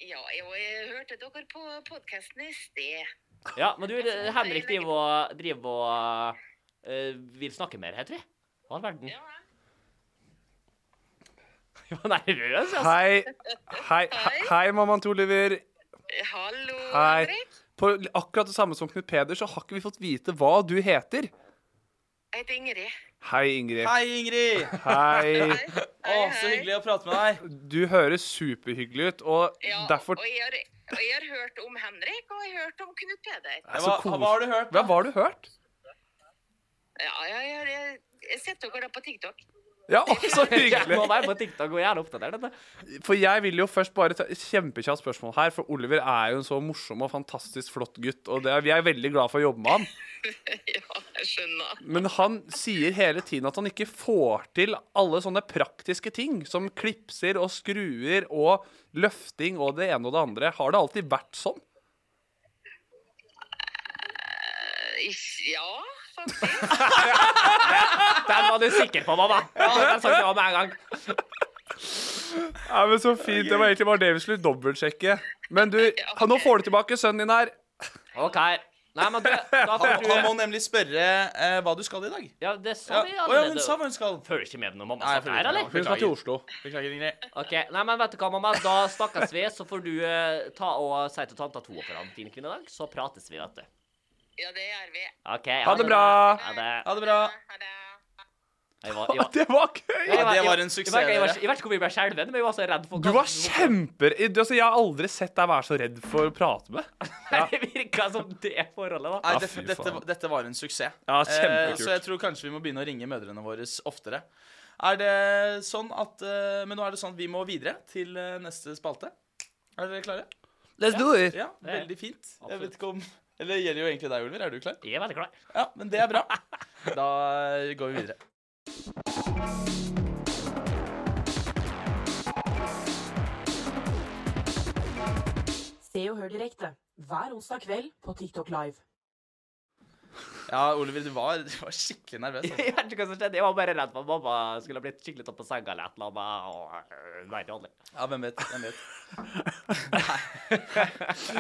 [SPEAKER 6] Ja, jeg, jeg hørte dere på podkasten i sted.
[SPEAKER 3] Ja, men du, eh, Henrik driver og, driver og eh, vil snakke mer her, tror jeg. Hva i all verden? [laughs]
[SPEAKER 6] Ja,
[SPEAKER 3] Jeg var nervøs, altså.
[SPEAKER 4] Hei. Hei, hei, hei mammaen til Oliver.
[SPEAKER 6] Eh, Hallo,
[SPEAKER 4] Hei.
[SPEAKER 6] Henrik.
[SPEAKER 4] På akkurat det samme som Knut Peder, så har ikke vi fått vite hva du heter.
[SPEAKER 6] Jeg heter Ingrid.
[SPEAKER 4] Hei, Ingrid.
[SPEAKER 1] Hei, Ingrid!
[SPEAKER 4] Hei.
[SPEAKER 6] Hei.
[SPEAKER 1] Å, så hyggelig å prate med deg.
[SPEAKER 4] Du høres superhyggelig ut, og
[SPEAKER 6] Ja,
[SPEAKER 4] derfor
[SPEAKER 6] og, jeg har, og jeg har hørt om Henrik, og jeg har hørt om Knut Peder.
[SPEAKER 4] er
[SPEAKER 1] Hva,
[SPEAKER 4] så kos-
[SPEAKER 1] hva har du hørt?
[SPEAKER 4] Hva var du hørt?
[SPEAKER 6] Ja, jeg, jeg, jeg, jeg setter dere da på TikTok. [laughs]
[SPEAKER 4] Ja, [laughs] å, så
[SPEAKER 3] [laughs] Jeg må
[SPEAKER 4] hyggelig.
[SPEAKER 3] være på TikTok og gjerne oppdatert dette.
[SPEAKER 4] For jeg vil jo først bare ta kjempekjapt spørsmål her, for Oliver er jo en så morsom og fantastisk flott gutt, og det er, vi er veldig glad for å jobbe med han.
[SPEAKER 6] Ja, jeg skjønner.
[SPEAKER 4] Men han sier hele tiden at han ikke får til alle sånne praktiske ting, som klipser og skruer og løfting og det ene og det andre. Har det alltid vært sånn?
[SPEAKER 6] Ikk- Ja, faktisk.
[SPEAKER 3] Den var du sikker på, mamma. Ja, den sa ja med en gang.
[SPEAKER 4] Ja, men Så fint. Det var egentlig bare det vi skulle dobbeltsjekke. Men du, nå får du tilbake sønnen din her.
[SPEAKER 3] OK. Nei, men du, da får
[SPEAKER 1] Han, han
[SPEAKER 3] du
[SPEAKER 1] må nemlig spørre eh, hva du skal i dag.
[SPEAKER 3] Ja, det
[SPEAKER 1] Ja.
[SPEAKER 3] sa vi
[SPEAKER 1] Å ja, hun sa
[SPEAKER 3] allerede.
[SPEAKER 1] hva hun skal.
[SPEAKER 3] Følger ikke med når mamma
[SPEAKER 1] Nei, jeg
[SPEAKER 3] satt
[SPEAKER 1] følger
[SPEAKER 3] her,
[SPEAKER 1] ikke med.
[SPEAKER 3] eller?
[SPEAKER 4] Hun skal til Oslo.
[SPEAKER 1] Beklager, Ingrid.
[SPEAKER 3] Ok, nei, men vet du hva, mamma? Da snakkes vi, så får du eh, ta og si til tanta to for han fin kvinnedag, så prates vi, vet du.
[SPEAKER 6] Ja, det gjør vi.
[SPEAKER 3] OK.
[SPEAKER 4] Ha det bra.
[SPEAKER 3] Ha det.
[SPEAKER 1] Ha det bra.
[SPEAKER 6] Ha det.
[SPEAKER 3] Jeg var,
[SPEAKER 4] [laughs]
[SPEAKER 3] jeg var,
[SPEAKER 4] Det var gøy!
[SPEAKER 1] Ja, det
[SPEAKER 3] jeg
[SPEAKER 1] var en suksess,
[SPEAKER 3] Jeg, var- jeg, var-
[SPEAKER 1] dere.
[SPEAKER 3] jeg vet ikke hvor mye jeg ble skjelven, men jeg var så redd for
[SPEAKER 4] Du var kjemper... Altså, jeg har aldri sett deg være så redd for å prate med.
[SPEAKER 3] Det virka som det forholdet, da.
[SPEAKER 1] Nei,
[SPEAKER 4] Ja,
[SPEAKER 1] dette,
[SPEAKER 4] fy
[SPEAKER 1] dette,
[SPEAKER 4] faen.
[SPEAKER 1] dette var en suksess.
[SPEAKER 4] Ja,
[SPEAKER 1] Eh,
[SPEAKER 4] kjempekult.
[SPEAKER 1] så jeg tror kanskje vi må begynne å ringe mødrene våre oftere. Er det sånn at eh, Men nå er det sånn at vi må videre til eh, neste spalte. Er dere klare?
[SPEAKER 4] Let's do it.
[SPEAKER 1] Ja,
[SPEAKER 3] Det er-
[SPEAKER 1] veldig fint. Jeg
[SPEAKER 3] absolutt.
[SPEAKER 1] vet ikke om Eller det gjelder jo egentlig deg, Ulver. Er du klar?
[SPEAKER 3] Jeg er veldig
[SPEAKER 4] [laughs]
[SPEAKER 3] klar.
[SPEAKER 1] Ja, men det er
[SPEAKER 3] [laughs]
[SPEAKER 1] bra. Da eh, går vi videre.
[SPEAKER 2] Se og hør direkte hver onsdag kveld på TikTok Live.
[SPEAKER 1] Ja, Oliver, du var, du var skikkelig nervøs. Altså.
[SPEAKER 3] Jeg vet ikke hva som skjedde. Jeg var bare redd for at mamma skulle blitt skikkelig tatt på senga eller et eller annet. og- øh, Nei, det holder.
[SPEAKER 1] Ja, hvem vet. Hvem vet.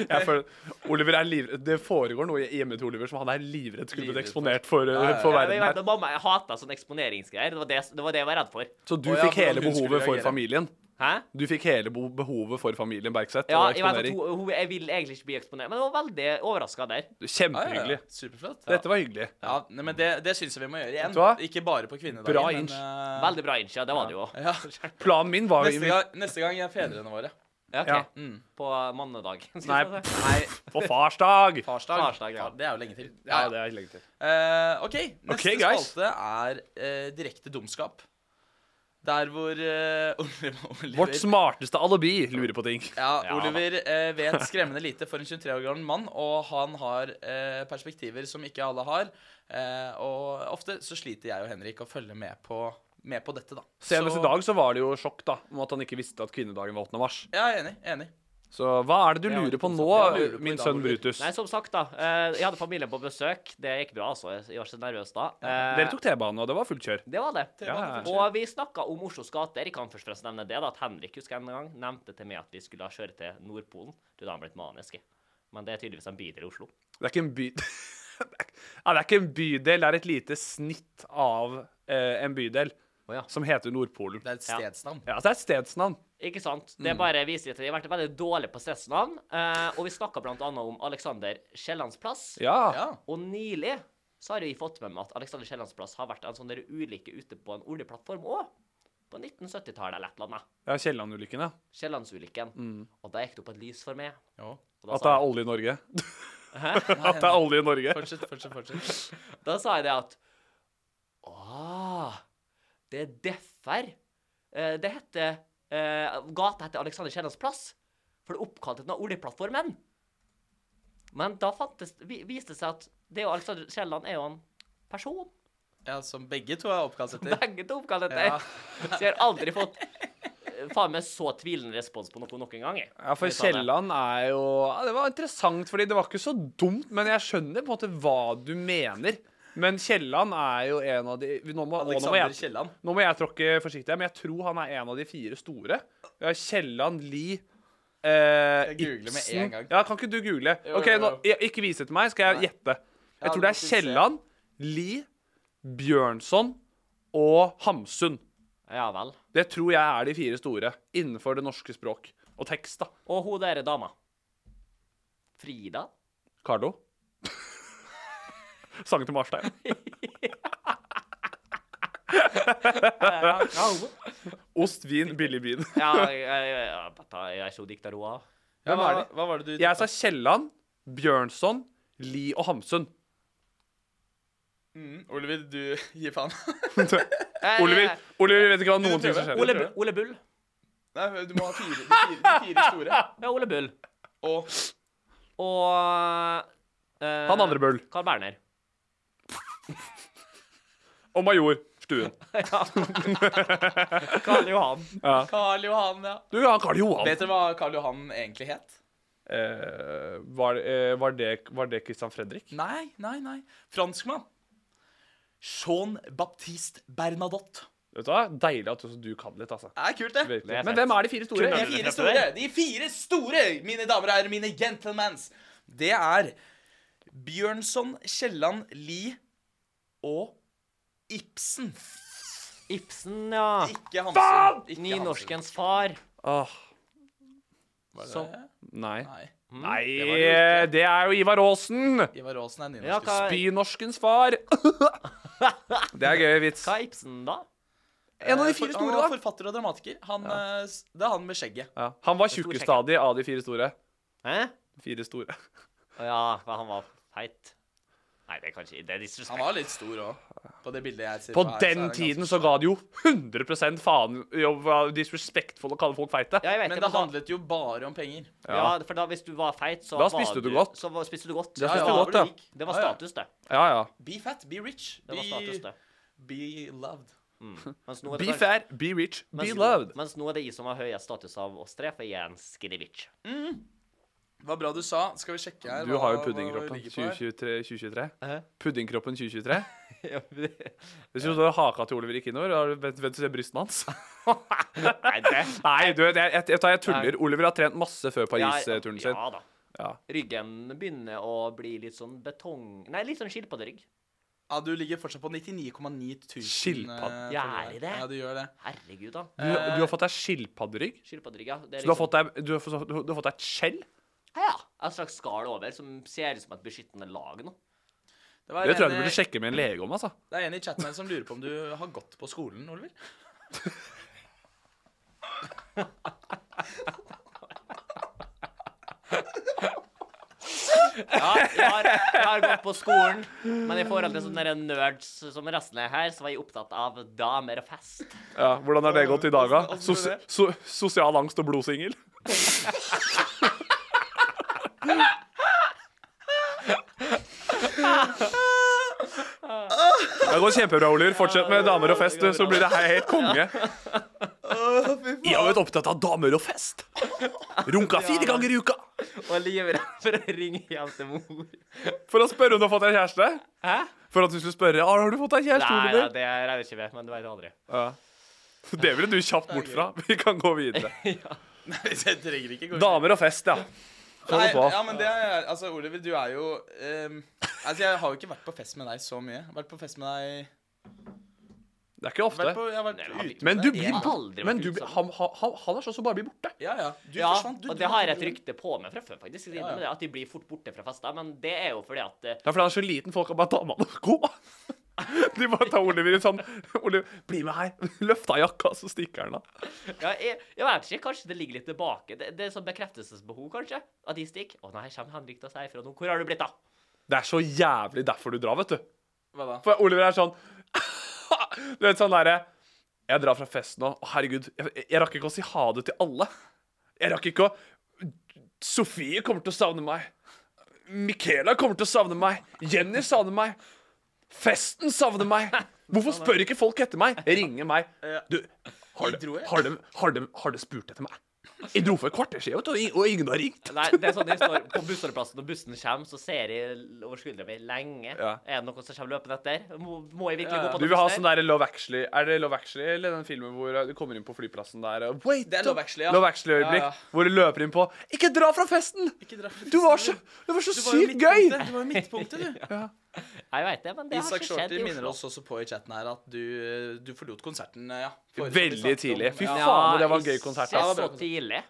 [SPEAKER 4] Jeg føler, Oliver er livredd. Det foregår noe hjemme til Oliver som han er livredd skulle blitt
[SPEAKER 1] Livredd for.
[SPEAKER 4] eksponert for, eh,
[SPEAKER 1] Ja, ja,
[SPEAKER 4] for
[SPEAKER 3] Jeg,
[SPEAKER 4] verden
[SPEAKER 3] vet
[SPEAKER 4] her.
[SPEAKER 3] at mamma jeg hatet sånne eksponeringsgreier. Det var det, det var det jeg var redd for.
[SPEAKER 4] Så du
[SPEAKER 1] Å, ja,
[SPEAKER 4] fikk hele
[SPEAKER 1] hvordan hun skulle
[SPEAKER 4] behovet for
[SPEAKER 1] reagere.
[SPEAKER 4] familien?
[SPEAKER 3] Hæ?
[SPEAKER 4] Du fikk hele bo- behovet for familien Bergseth?
[SPEAKER 3] Ja,
[SPEAKER 4] og
[SPEAKER 3] jeg, vet at
[SPEAKER 4] eksponering.
[SPEAKER 3] hun, hun, jeg vil egentlig ikke bli eksponert, men jeg var veldig overraska der.
[SPEAKER 1] Ja, ja, ja.
[SPEAKER 4] Kjempehyggelig.
[SPEAKER 1] Superflott.
[SPEAKER 4] Dette var hyggelig.
[SPEAKER 1] Ja, nei, men det, det syns jeg vi må gjøre
[SPEAKER 4] Vet du hva?
[SPEAKER 1] igjen. Ikke bare på kvinnedagen.
[SPEAKER 4] Bra
[SPEAKER 1] men,
[SPEAKER 4] inch.
[SPEAKER 1] eh,
[SPEAKER 3] Veldig bra innsida, det var det jo.
[SPEAKER 1] ja.
[SPEAKER 4] Planen min var
[SPEAKER 1] neste, gang, neste gang er fedrene våre.
[SPEAKER 3] Ja, ok.
[SPEAKER 4] Ja.
[SPEAKER 1] Mm.
[SPEAKER 3] På mannedag. skal
[SPEAKER 4] Nei.
[SPEAKER 3] jeg si det?
[SPEAKER 1] Nei,
[SPEAKER 4] På farsdag!
[SPEAKER 1] farsdag.
[SPEAKER 3] Farsdag, ja.
[SPEAKER 1] Far- Det er jo lenge til.
[SPEAKER 4] Ja, det er lenge til.
[SPEAKER 1] Eh, OK. Neste
[SPEAKER 4] Ok, guys.
[SPEAKER 1] spalte er eh, direkte dumskap. Der hvor eh, [laughs] Oliver,
[SPEAKER 4] Vårt smarteste alibi lurer på ting.
[SPEAKER 1] ja,
[SPEAKER 3] Ja,
[SPEAKER 1] Oliver eh, vet skremmende lite for en 23 år gammel mann, og han har eh, perspektiver som ikke alle har. Eh, og ofte så sliter jeg og Henrik å følge med på, med på dette, da.
[SPEAKER 4] Senest
[SPEAKER 1] Så-
[SPEAKER 4] i dag så var det jo sjokk da om at han ikke visste at kvinnedagen var 8. mars.
[SPEAKER 1] Ja, enig. enig.
[SPEAKER 4] Så hva er det du
[SPEAKER 3] Det er
[SPEAKER 4] lurer
[SPEAKER 3] jo
[SPEAKER 4] på
[SPEAKER 3] litt
[SPEAKER 4] nå,
[SPEAKER 3] sånn-
[SPEAKER 1] Jeg lurer på i
[SPEAKER 4] min
[SPEAKER 1] dag,
[SPEAKER 4] sønn
[SPEAKER 1] Oliver.
[SPEAKER 4] Brutus?
[SPEAKER 3] Nei, som sagt, da. eh, Jeg hadde familien på besøk. Det gikk bra, altså. Jeg var så nervøs da. Eh,
[SPEAKER 4] Dere tok T-banen, og det var fullt kjør.
[SPEAKER 3] Det var det.
[SPEAKER 4] Ja, ja.
[SPEAKER 3] Og vi snakka om Oslos gater. Jeg kan først og fremst nevne det, da, at Henrik husker jeg en gang nevnte til meg at vi skulle kjøre til Nordpolen. Du, da har han blitt manisk. jeg. Men det er tydeligvis en bydel i Oslo.
[SPEAKER 4] Det er ikke en by... [laughs] ja, det er ikke en bydel, det er et lite snitt av eh, en bydel
[SPEAKER 3] Å, ja.
[SPEAKER 4] som heter Nordpolen.
[SPEAKER 1] Det er et
[SPEAKER 3] Ja.
[SPEAKER 1] stedsnavn.
[SPEAKER 4] Ja, så det er et stedsnavn.
[SPEAKER 3] Ikke sant? Det
[SPEAKER 4] Mm.
[SPEAKER 3] bare viser at jeg har vært veldig dårlig på stedsnavn. Eh, og vi snakka blant annet om Alexander Kiellands plass.
[SPEAKER 4] Ja.
[SPEAKER 1] Ja.
[SPEAKER 3] Og nylig så har jeg fått med meg at Alexander Kiellands plass har vært en sånn der ulykke ute på en oljeplattform òg. På 1970-tallet eller et eller annet.
[SPEAKER 4] Det er Kielland-ulykken, ja.
[SPEAKER 3] Kiellandsulykken. Og da gikk det opp et lys for meg.
[SPEAKER 1] Jo.
[SPEAKER 3] Og da
[SPEAKER 4] At det
[SPEAKER 3] sa
[SPEAKER 4] er
[SPEAKER 3] jeg-
[SPEAKER 4] olje i
[SPEAKER 1] [laughs]
[SPEAKER 4] Norge.
[SPEAKER 3] Hæ?
[SPEAKER 4] [laughs] At det er olje i Norge.
[SPEAKER 1] Fortsett, fortsett, fortsett.
[SPEAKER 3] Da sa jeg det at Åh, det er derfor eh, Det heter eh, Gata heter Alexander Kiellands plass. For det er oppkalt etter den oljeplattformen. Men da fantes, vi, viste det seg at det er jo Alexander Kielland er jo en person.
[SPEAKER 1] Ja, som begge to er oppkalt etter.
[SPEAKER 3] Begge to oppkalt etter.
[SPEAKER 1] Ja.
[SPEAKER 3] Så jeg har aldri fått eh, faen meg så tvilende respons på noe noen gang. jeg.
[SPEAKER 4] Ja, for
[SPEAKER 3] Jeg sa det.
[SPEAKER 4] Kielland er jo ja, Det var interessant, fordi det var ikke så dumt, men jeg skjønner på en måte hva du mener. Men Kielland er jo en av de Nå må, å, nå må
[SPEAKER 1] Alexander
[SPEAKER 4] jeg
[SPEAKER 1] Kielland.
[SPEAKER 4] Nå må jeg tråkke forsiktig her, men jeg tror han er en av de fire store. Vi har Kielland, Lie eh,
[SPEAKER 1] Jeg googler med en gang.
[SPEAKER 4] Ja, Kan ikke du google?
[SPEAKER 1] Jo,
[SPEAKER 4] Ok,
[SPEAKER 1] jo, jo.
[SPEAKER 4] nå, jeg, Ikke vis det til meg, skal jeg gjette.
[SPEAKER 1] Ja,
[SPEAKER 4] Jeg tror
[SPEAKER 1] du
[SPEAKER 4] det er
[SPEAKER 1] får se.
[SPEAKER 4] Kielland, Lie, Bjørnson og Hamsun.
[SPEAKER 3] Ja vel.
[SPEAKER 4] Det tror jeg er de fire store innenfor det norske språk. Og tekst, da.
[SPEAKER 3] Og hun derre dama. Frida?
[SPEAKER 4] Carlo. [laughs] Sangen til Marstein.
[SPEAKER 3] Ja, hun.
[SPEAKER 4] Ost, vin, billig vin.
[SPEAKER 3] ja, jeg, jeg, jeg, jeg er ikke hun dikter, hun òg.
[SPEAKER 1] Ja,
[SPEAKER 4] Hvem
[SPEAKER 1] hva,
[SPEAKER 4] er de?
[SPEAKER 1] hva var det du
[SPEAKER 4] Jeg sa Kielland, Bjørnson, Lie og Hamsun.
[SPEAKER 1] mm, Oliver, du [laughs] gir faen.
[SPEAKER 4] Oliver, Oliver vet ikke hva
[SPEAKER 1] du
[SPEAKER 4] noen ting som
[SPEAKER 1] prøve?
[SPEAKER 4] skjer.
[SPEAKER 3] Eh, Ole, Bu- Ole Bull.
[SPEAKER 1] Nei, du må ha fire, de fire, de fire store.
[SPEAKER 3] Ja, Ole Bull.
[SPEAKER 1] Og
[SPEAKER 3] Og eh,
[SPEAKER 4] Han andre Bull.
[SPEAKER 3] Carl Berner.
[SPEAKER 4] Og major Stuen.
[SPEAKER 3] Karl Johan.
[SPEAKER 1] Karl Johan, ja.
[SPEAKER 4] Du, ja, Karl Johan.
[SPEAKER 1] Vet dere hva Karl Johan egentlig het?
[SPEAKER 4] Eh, var, eh, var, det, var det Christian Fredrik?
[SPEAKER 1] Nei, nei, nei. Franskmann. Jean Baptiste Bernadotte.
[SPEAKER 4] Vet du hva? Deilig at også du kan litt, altså.
[SPEAKER 1] Det er kult, det.
[SPEAKER 4] Virkelig.
[SPEAKER 3] Det er
[SPEAKER 4] Men
[SPEAKER 3] fett.
[SPEAKER 4] hvem er de fire store?
[SPEAKER 1] De fire store, de fire store, mine damer og herrer, mine gentlemans. Det er Bjørnson, Kielland, Lie og Ibsen.
[SPEAKER 3] Ibsen, ja.
[SPEAKER 1] Ikke altså. Hamsun. Ikke Hamsun.
[SPEAKER 3] Nynorskens far.
[SPEAKER 4] Åh,
[SPEAKER 1] Var det
[SPEAKER 4] Sånn.
[SPEAKER 1] det?
[SPEAKER 4] nei.
[SPEAKER 1] Nei.
[SPEAKER 3] Hm,
[SPEAKER 4] Nei,
[SPEAKER 1] det var det jo ikke.
[SPEAKER 4] det er jo Ivar Aasen!
[SPEAKER 1] Ivar Aasen er
[SPEAKER 3] Ja,
[SPEAKER 1] nynorsk.
[SPEAKER 3] hva,
[SPEAKER 4] Bynorskens far. [laughs] Det er gøy vits.
[SPEAKER 3] hva er Ibsen, da?
[SPEAKER 4] En av de
[SPEAKER 1] Eh,
[SPEAKER 4] fire
[SPEAKER 1] for-
[SPEAKER 4] store,
[SPEAKER 1] Han var
[SPEAKER 4] da.
[SPEAKER 1] forfatter og dramatiker. Han, eh, s- Det er han med skjegget.
[SPEAKER 4] Ja, han var
[SPEAKER 3] stor
[SPEAKER 4] tjukkest av de av de fire store.
[SPEAKER 3] Hæ?
[SPEAKER 4] Fire store.
[SPEAKER 3] Å ja, for han var feit. Nei, det kan ikke Det er
[SPEAKER 1] Han
[SPEAKER 3] disrespekt.
[SPEAKER 1] var litt stor òg, på det bildet jeg ser her, så er
[SPEAKER 4] På
[SPEAKER 1] han
[SPEAKER 4] den
[SPEAKER 1] ganske
[SPEAKER 4] tiden så
[SPEAKER 1] stor.
[SPEAKER 4] ga de jo 100 faen i å være disrespectful og kalle folk feite.
[SPEAKER 3] Ja, jeg
[SPEAKER 1] Men
[SPEAKER 3] vet det,
[SPEAKER 1] det
[SPEAKER 3] men da,
[SPEAKER 1] handlet jo bare om penger.
[SPEAKER 3] ja, for da hvis du var feit, så
[SPEAKER 4] Da
[SPEAKER 3] var
[SPEAKER 4] spiste du godt.
[SPEAKER 3] Så var, spiste du godt.
[SPEAKER 4] Da
[SPEAKER 3] Ja, ja,
[SPEAKER 4] spiste du godt,
[SPEAKER 3] var
[SPEAKER 4] ja.
[SPEAKER 3] rik. Det var
[SPEAKER 1] Ja, ja.
[SPEAKER 3] status, det.
[SPEAKER 4] Ja, ja.
[SPEAKER 1] Be fat, be rich.
[SPEAKER 3] Det var status,
[SPEAKER 1] Be,
[SPEAKER 3] det.
[SPEAKER 1] be loved.
[SPEAKER 3] Mens nå er det
[SPEAKER 4] Be
[SPEAKER 3] kanskje-
[SPEAKER 4] fair, be rich, be
[SPEAKER 3] mens,
[SPEAKER 4] loved.
[SPEAKER 3] Mens nå er det jeg som har høyest status av oss tre, for jeg er en skinny bitch.
[SPEAKER 1] Det var bra du sa. Skal vi sjekke her.
[SPEAKER 4] Du
[SPEAKER 1] hva-
[SPEAKER 4] har jo
[SPEAKER 1] hva- hva
[SPEAKER 4] puddingkroppen
[SPEAKER 1] ligger på her?
[SPEAKER 4] 2023. 2023.
[SPEAKER 3] [laughs] Hæ?
[SPEAKER 4] Puddingkroppen 2023.
[SPEAKER 3] Nei,
[SPEAKER 4] Hvis du står haka til Oliver ikke innover, har du- vent vent til du ser brystene hans. [laughs]
[SPEAKER 3] det
[SPEAKER 4] Nei, du, jeg, jeg, jeg, tar- jeg
[SPEAKER 3] Nei.
[SPEAKER 4] tuller. Oliver har trent masse før
[SPEAKER 3] Ja,
[SPEAKER 4] Paris-turen sin.
[SPEAKER 3] Ja da.
[SPEAKER 4] Ja.
[SPEAKER 3] Ryggen begynner å bli litt sånn betong... Nei, litt sånn skilpadderygg.
[SPEAKER 1] Ja, du ligger fortsatt på 99,9 000.
[SPEAKER 4] Skilpadde.
[SPEAKER 1] eh,
[SPEAKER 3] Gjør jeg det?
[SPEAKER 1] Ja, du gjør det.
[SPEAKER 3] Herregud, da.
[SPEAKER 4] Du, du har fått deg skilpadderygg.
[SPEAKER 3] Skilpadderygg, ja. Det liksom-
[SPEAKER 4] Så du har fått deg, du har fått, du har fått deg et skjell?
[SPEAKER 3] ja, et slags skall over som ser ut som et beskyttende lag nå.
[SPEAKER 1] Det, var
[SPEAKER 4] Det tror jeg
[SPEAKER 1] en,
[SPEAKER 4] du
[SPEAKER 1] eh,
[SPEAKER 4] burde sjekke med en lege om, altså.
[SPEAKER 1] det er en i chatten her som lurer på om du har gått på [laughs] skolen, Oliver.
[SPEAKER 3] Ja, jeg har, jeg har gått på skolen, men i forhold til sånne der nerds som resten er her, så var jeg opptatt av damer og fest.
[SPEAKER 4] Ja, hvordan har det gått i dag, da?
[SPEAKER 1] Hvordan- hvordan
[SPEAKER 4] Sos
[SPEAKER 1] er det?
[SPEAKER 4] so sosial angst og blodsingel? Det går kjempebra, Oliver. Fortsett med damer og fest, du, så blir det he- helt konge. Jeg har vært opptatt av damer og fest. Runka fire ganger i uka.
[SPEAKER 3] Og livredd for å ringe hjem til mor.
[SPEAKER 4] For å spørre om du har fått deg kjæreste.
[SPEAKER 3] Hæ?
[SPEAKER 4] For at du skulle spørre «Ah, har du fått deg kjæreste,
[SPEAKER 3] Nei, nei,
[SPEAKER 4] Oliver.
[SPEAKER 3] det regner ikke med, men du vet aldri.
[SPEAKER 4] [laughs] Det ville du kjapt bort fra. Vi kan gå videre.
[SPEAKER 1] Jeg trenger ikke gå
[SPEAKER 4] [laughs] Damer og fest, ja. Få
[SPEAKER 1] Nei,
[SPEAKER 4] det på.
[SPEAKER 1] ja, men det er, altså, Oliver, du er jo ehm, Altså, jeg har jo ikke vært på fest med deg så mye. Jeg har vært på fest med deg
[SPEAKER 4] Det er
[SPEAKER 1] vært
[SPEAKER 4] ikke ofte.
[SPEAKER 1] på, Jeg har vært
[SPEAKER 3] Nei, men han-
[SPEAKER 1] ute.
[SPEAKER 4] Men du
[SPEAKER 3] Jeg
[SPEAKER 4] blir
[SPEAKER 3] har aldri
[SPEAKER 4] borte. Men
[SPEAKER 3] vært
[SPEAKER 4] du,
[SPEAKER 3] utsatt.
[SPEAKER 4] blir- han, han, han- han er sånn som bare blir borte.
[SPEAKER 1] Ja, ja. Du
[SPEAKER 3] Ja,
[SPEAKER 1] forsvant. Du, du-
[SPEAKER 3] og det har jeg et
[SPEAKER 1] du-
[SPEAKER 3] rykte på meg fra før, faktisk. Jeg
[SPEAKER 1] Ja,
[SPEAKER 3] skal
[SPEAKER 1] ja.
[SPEAKER 3] innrømme det, At de blir fort borte fra fester. Men det er jo fordi at eh,
[SPEAKER 4] Ja, for han er så liten, folk kan bare ta med han og gå. [laughs] De bare tar Oliver i sånn Oliver, bli med her. Løft av jakka, så stikker han av.
[SPEAKER 3] Ja, jeg, jeg vet ikke. Kanskje det ligger litt tilbake. Det, det er sånn bekreftelsesbehov, kanskje. At de stikker. 'Å nei, kommer Henrik til å si ifra nå?' 'Hvor har du blitt av?'
[SPEAKER 4] Det er så jævlig derfor du drar, vet du.
[SPEAKER 1] Hva da?
[SPEAKER 4] For Oliver er sånn [laughs] Du vet sånn derre Jeg drar fra fest nå. Å, Herregud, jeg, jeg rakk ikke å si ha det til alle. Jeg rakk ikke å Sofie kommer til å savne meg. Michaela kommer til å savne meg. Jenny savner meg. Festen savner meg. Hvorfor spør ikke folk etter meg? Ringer meg. Du, har
[SPEAKER 1] Jeg dro,
[SPEAKER 4] de,
[SPEAKER 1] jeg.
[SPEAKER 4] har de, har de, har de spurt etter meg? Jeg dro for et kvarter siden, vet du, og ing- og ingen har ringt.
[SPEAKER 3] Nei, det er sånn jeg står på bussholdeplassen, når bussen kommer, så ser jeg l- over skuldra mi lenge.
[SPEAKER 4] Ja.
[SPEAKER 3] Er det noen som kommer løpende etter? Må, må jeg virkelig
[SPEAKER 1] Ja, ja.
[SPEAKER 3] gå på
[SPEAKER 4] Du vil ha
[SPEAKER 3] bussen
[SPEAKER 4] sånn der Love Actually Er det Love Actually eller den filmen hvor du kommer inn på flyplassen der og Wait,
[SPEAKER 1] Det er
[SPEAKER 4] up!
[SPEAKER 1] Love Actually, ja.
[SPEAKER 4] Love Actually-øyeblikk.
[SPEAKER 1] Ja, ja.
[SPEAKER 4] Hvor du løper inn på Ikke dra fra festen!
[SPEAKER 1] Ikke dra på
[SPEAKER 4] Du var så,
[SPEAKER 1] festen,
[SPEAKER 4] det var så
[SPEAKER 1] Du var jo
[SPEAKER 4] sykt gøy!
[SPEAKER 1] midtpunktet, Du var jo midtpunktet, du.
[SPEAKER 3] Jeg vet det, men det har
[SPEAKER 1] Isak
[SPEAKER 3] ikke skjedd
[SPEAKER 1] Shorty
[SPEAKER 3] i
[SPEAKER 1] minner
[SPEAKER 3] Oslo.
[SPEAKER 1] oss også på i chatten her at du, du forlot konserten, eh, ja. forrige som vi
[SPEAKER 4] Veldig
[SPEAKER 1] snakket om.
[SPEAKER 4] tidlig. Fy
[SPEAKER 1] Ja.
[SPEAKER 4] faen, det var en gøy konsert.
[SPEAKER 3] Ikke
[SPEAKER 1] Ja, det var
[SPEAKER 3] så
[SPEAKER 1] bra.
[SPEAKER 3] tidlig.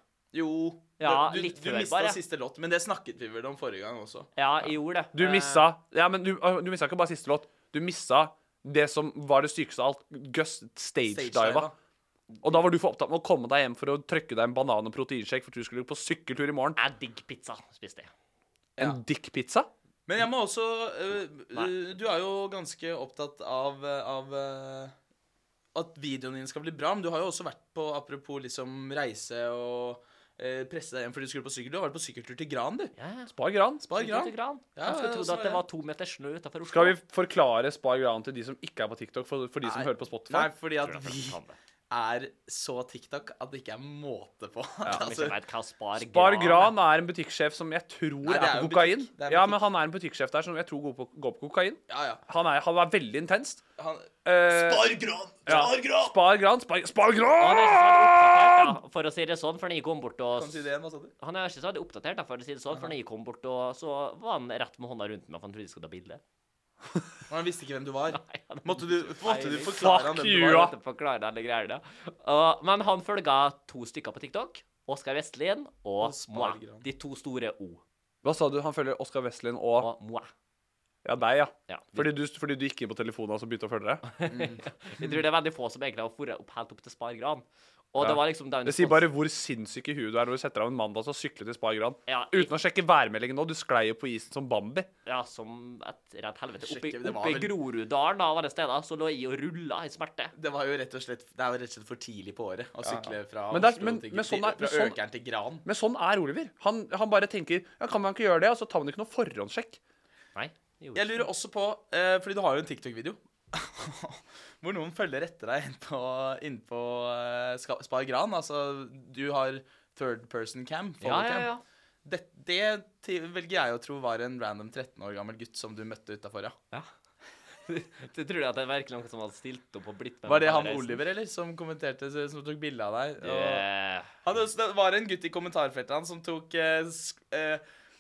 [SPEAKER 1] Jo.
[SPEAKER 3] Ja,
[SPEAKER 1] du- du,
[SPEAKER 3] litt
[SPEAKER 1] du
[SPEAKER 3] før,
[SPEAKER 1] mista
[SPEAKER 3] bare.
[SPEAKER 1] siste låt, men det snakket vi vel om forrige gang også.
[SPEAKER 3] Ja, Eh, jeg gjorde det.
[SPEAKER 4] Du missa Ja, men du, du missa ikke bare siste låt. Du missa det som var det sykeste av alt. Gus
[SPEAKER 1] Stage-diva.
[SPEAKER 4] stage-diva. Og da var du for opptatt med å komme deg hjem for å trykke deg en banan og proteinshake, for du skulle på sykkeltur i morgen.
[SPEAKER 3] Jeg digg pizza, spiste jeg.
[SPEAKER 4] En dickpizza?
[SPEAKER 1] Men jeg må også øh,
[SPEAKER 3] Nei.
[SPEAKER 1] øh, Du er jo ganske opptatt av, øh, av øh, at videoen din skal bli bra, men du har jo også vært på apropos liksom reise og øh, presse deg hjem fordi du skulle på sykkel. Du har vært på sykkeltur til Gran, du.
[SPEAKER 3] Ja, ja.
[SPEAKER 4] Spar gran.
[SPEAKER 1] Spar Gran.
[SPEAKER 3] Ute i Gran.
[SPEAKER 1] Ja,
[SPEAKER 3] jeg skulle
[SPEAKER 1] ja,
[SPEAKER 3] trodd
[SPEAKER 1] så
[SPEAKER 3] at det
[SPEAKER 1] jeg-
[SPEAKER 3] var to meter snø utafor Oslo.
[SPEAKER 4] Skal vi forklare Spar gran til de som ikke er på TikTok, for, for de som
[SPEAKER 1] Nei.
[SPEAKER 4] hører på Spotify?
[SPEAKER 1] Nei, fordi at
[SPEAKER 3] Jeg tror det er
[SPEAKER 1] vi
[SPEAKER 3] første kamp, det.
[SPEAKER 1] er så TikTok at det ikke er måte på.
[SPEAKER 3] Om ikke
[SPEAKER 1] [laughs] altså,
[SPEAKER 3] jeg vet hva spar,
[SPEAKER 4] Bar
[SPEAKER 3] Gran er.
[SPEAKER 4] Gran er en butikksjef som jeg tror
[SPEAKER 1] det
[SPEAKER 4] er,
[SPEAKER 1] er
[SPEAKER 4] på
[SPEAKER 1] jo
[SPEAKER 4] kokain.
[SPEAKER 1] butikk. Det er
[SPEAKER 4] Ja,
[SPEAKER 1] butikk.
[SPEAKER 4] men Han er en butikksjef der som jeg tror går på, går på kokain.
[SPEAKER 1] ja, ja.
[SPEAKER 4] Han er, han er veldig intens.
[SPEAKER 1] Han,
[SPEAKER 4] Eh,
[SPEAKER 1] Spar Gran!
[SPEAKER 4] ja.
[SPEAKER 1] Spar Gran!
[SPEAKER 4] Spar Gran! Spar, spar
[SPEAKER 3] Han er ikke
[SPEAKER 4] Gran!
[SPEAKER 3] så veldig oppdatert, da, for å si det sånn, for når jeg kom bort og
[SPEAKER 1] Kan du si det igjen, hva sa du?
[SPEAKER 3] Han er ikke så veldig oppdatert, da, for å si det sånn, for når jeg kom bort, og så var han rett med hånda rundt meg, for han trodde jeg skulle ta bilde.
[SPEAKER 1] Han visste ikke hvem du var.
[SPEAKER 3] Nei, han-
[SPEAKER 1] Måtte du, måtte du
[SPEAKER 3] Nei,
[SPEAKER 1] forklare
[SPEAKER 4] fuck
[SPEAKER 1] han hvem
[SPEAKER 4] you,
[SPEAKER 1] du
[SPEAKER 3] Jeg
[SPEAKER 1] var?
[SPEAKER 4] ja.
[SPEAKER 3] måtte forklare alle greiene. Og- men han følga to stykker på TikTok. Oskar Vestlien og Moi.
[SPEAKER 1] Spar Gran.
[SPEAKER 3] De to store O.
[SPEAKER 4] Hva sa du? Han følger Oskar Westlin og
[SPEAKER 3] Og Moi.
[SPEAKER 4] Ja, deg, ja.
[SPEAKER 3] Ja.
[SPEAKER 4] Fordi du, fordi du gikk inn på telefonen hans og begynte å følge deg?
[SPEAKER 3] Jeg tror det er veldig få som egentlig har foret opp helt opp til Spar Gran. Og
[SPEAKER 4] Ja.
[SPEAKER 3] det var liksom den
[SPEAKER 4] Det sier bare hvor sinnssyk i huet du er når du setter av en mandag og sykler til Spar Gran.
[SPEAKER 3] Ja, i-
[SPEAKER 4] Uten å sjekke værmeldingen nå. Du sklei jo på isen som Bambi.
[SPEAKER 3] Ja, som et rett helvete. Oppe i,
[SPEAKER 1] Sjekke, det var
[SPEAKER 3] oppe i
[SPEAKER 1] vel-
[SPEAKER 3] Groruddalen, da, var det steder, så lå jeg og rulla i smerte.
[SPEAKER 1] Det var jo rett og slett Det er jo rett og slett for tidlig på året å sykle fra
[SPEAKER 4] Men det er-
[SPEAKER 1] Oslo
[SPEAKER 4] men-
[SPEAKER 1] til,
[SPEAKER 4] men sånn er-
[SPEAKER 1] til, fra
[SPEAKER 4] sånn-
[SPEAKER 1] Økern til Gran.
[SPEAKER 4] Men sånn er Oliver. Han, han bare tenker ja, kan man ikke gjøre det? Og så tar man ikke noe forhåndssjekk.
[SPEAKER 3] Nei. det gjorde
[SPEAKER 1] Jeg
[SPEAKER 3] ikke
[SPEAKER 1] lurer også på, eh, fordi du har jo en TikTok-video [laughs] hvor noen følger etter deg inn på, inn på eh, Ska- Spar Gran. Altså, du har third person cam.
[SPEAKER 3] det.
[SPEAKER 1] follow
[SPEAKER 3] ja, ja,
[SPEAKER 1] cam.
[SPEAKER 3] ja.
[SPEAKER 1] Det, det ti- velger jeg å tro var en random 13 år gammel gutt som du møtte utafor, ja.
[SPEAKER 3] Du tror at det er virkelig noen som hadde stilt opp og blitt med
[SPEAKER 1] Var det
[SPEAKER 3] meg på
[SPEAKER 1] han
[SPEAKER 3] den reisen?
[SPEAKER 1] Oliver, eller? Som kommenterte, som tok bilde av deg?
[SPEAKER 3] Det-
[SPEAKER 1] og-
[SPEAKER 4] eh,
[SPEAKER 1] Han, det var en gutt i kommentarfeltet han som tok eh, sk- eh,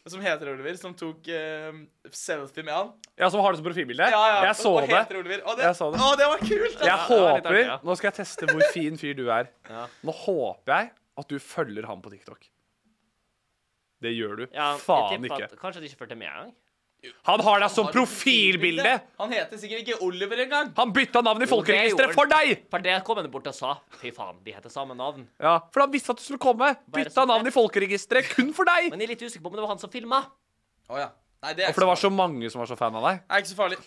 [SPEAKER 1] Som heter Oliver, som tok eh, selfie med han.
[SPEAKER 4] Ja, som har det som profilbilde? Jeg så
[SPEAKER 1] og, og
[SPEAKER 4] det.
[SPEAKER 1] Heter Oliver. Og det,
[SPEAKER 4] Jeg så det.
[SPEAKER 1] Å, det var kult!
[SPEAKER 4] Jeg
[SPEAKER 1] ass.
[SPEAKER 3] det var litt
[SPEAKER 4] håper
[SPEAKER 3] artig, ja.
[SPEAKER 4] Nå skal jeg teste hvor fin fyr du er.
[SPEAKER 3] [laughs] Ja.
[SPEAKER 4] Nå håper jeg at du følger ham på TikTok. Det gjør du
[SPEAKER 3] Ja, jeg
[SPEAKER 4] faen
[SPEAKER 3] tipper
[SPEAKER 4] ikke.
[SPEAKER 3] at- Kanskje de ikke fulgte med engang.
[SPEAKER 4] Han har deg som
[SPEAKER 1] Har du
[SPEAKER 4] profilbilde!
[SPEAKER 1] Han heter sikkert ikke Oliver engang.
[SPEAKER 4] Han bytta navn i
[SPEAKER 3] Jo, det gjorde
[SPEAKER 4] folkeregisteret
[SPEAKER 3] han.
[SPEAKER 4] for deg!
[SPEAKER 3] For det kom han bort og sa. Fy faen, de heter samme navn.
[SPEAKER 4] Ja, For han visste at du skulle komme.
[SPEAKER 3] Bare
[SPEAKER 4] Bytta
[SPEAKER 3] så
[SPEAKER 4] navn i folkeregisteret kun for deg!
[SPEAKER 3] Men jeg er litt usikker på om det var han som filma.
[SPEAKER 1] Å ja. Nei, det er
[SPEAKER 4] Og
[SPEAKER 1] ikke
[SPEAKER 4] for det var så
[SPEAKER 1] farlig.
[SPEAKER 4] mange som var så fan av deg.
[SPEAKER 1] Det er ikke så farlig.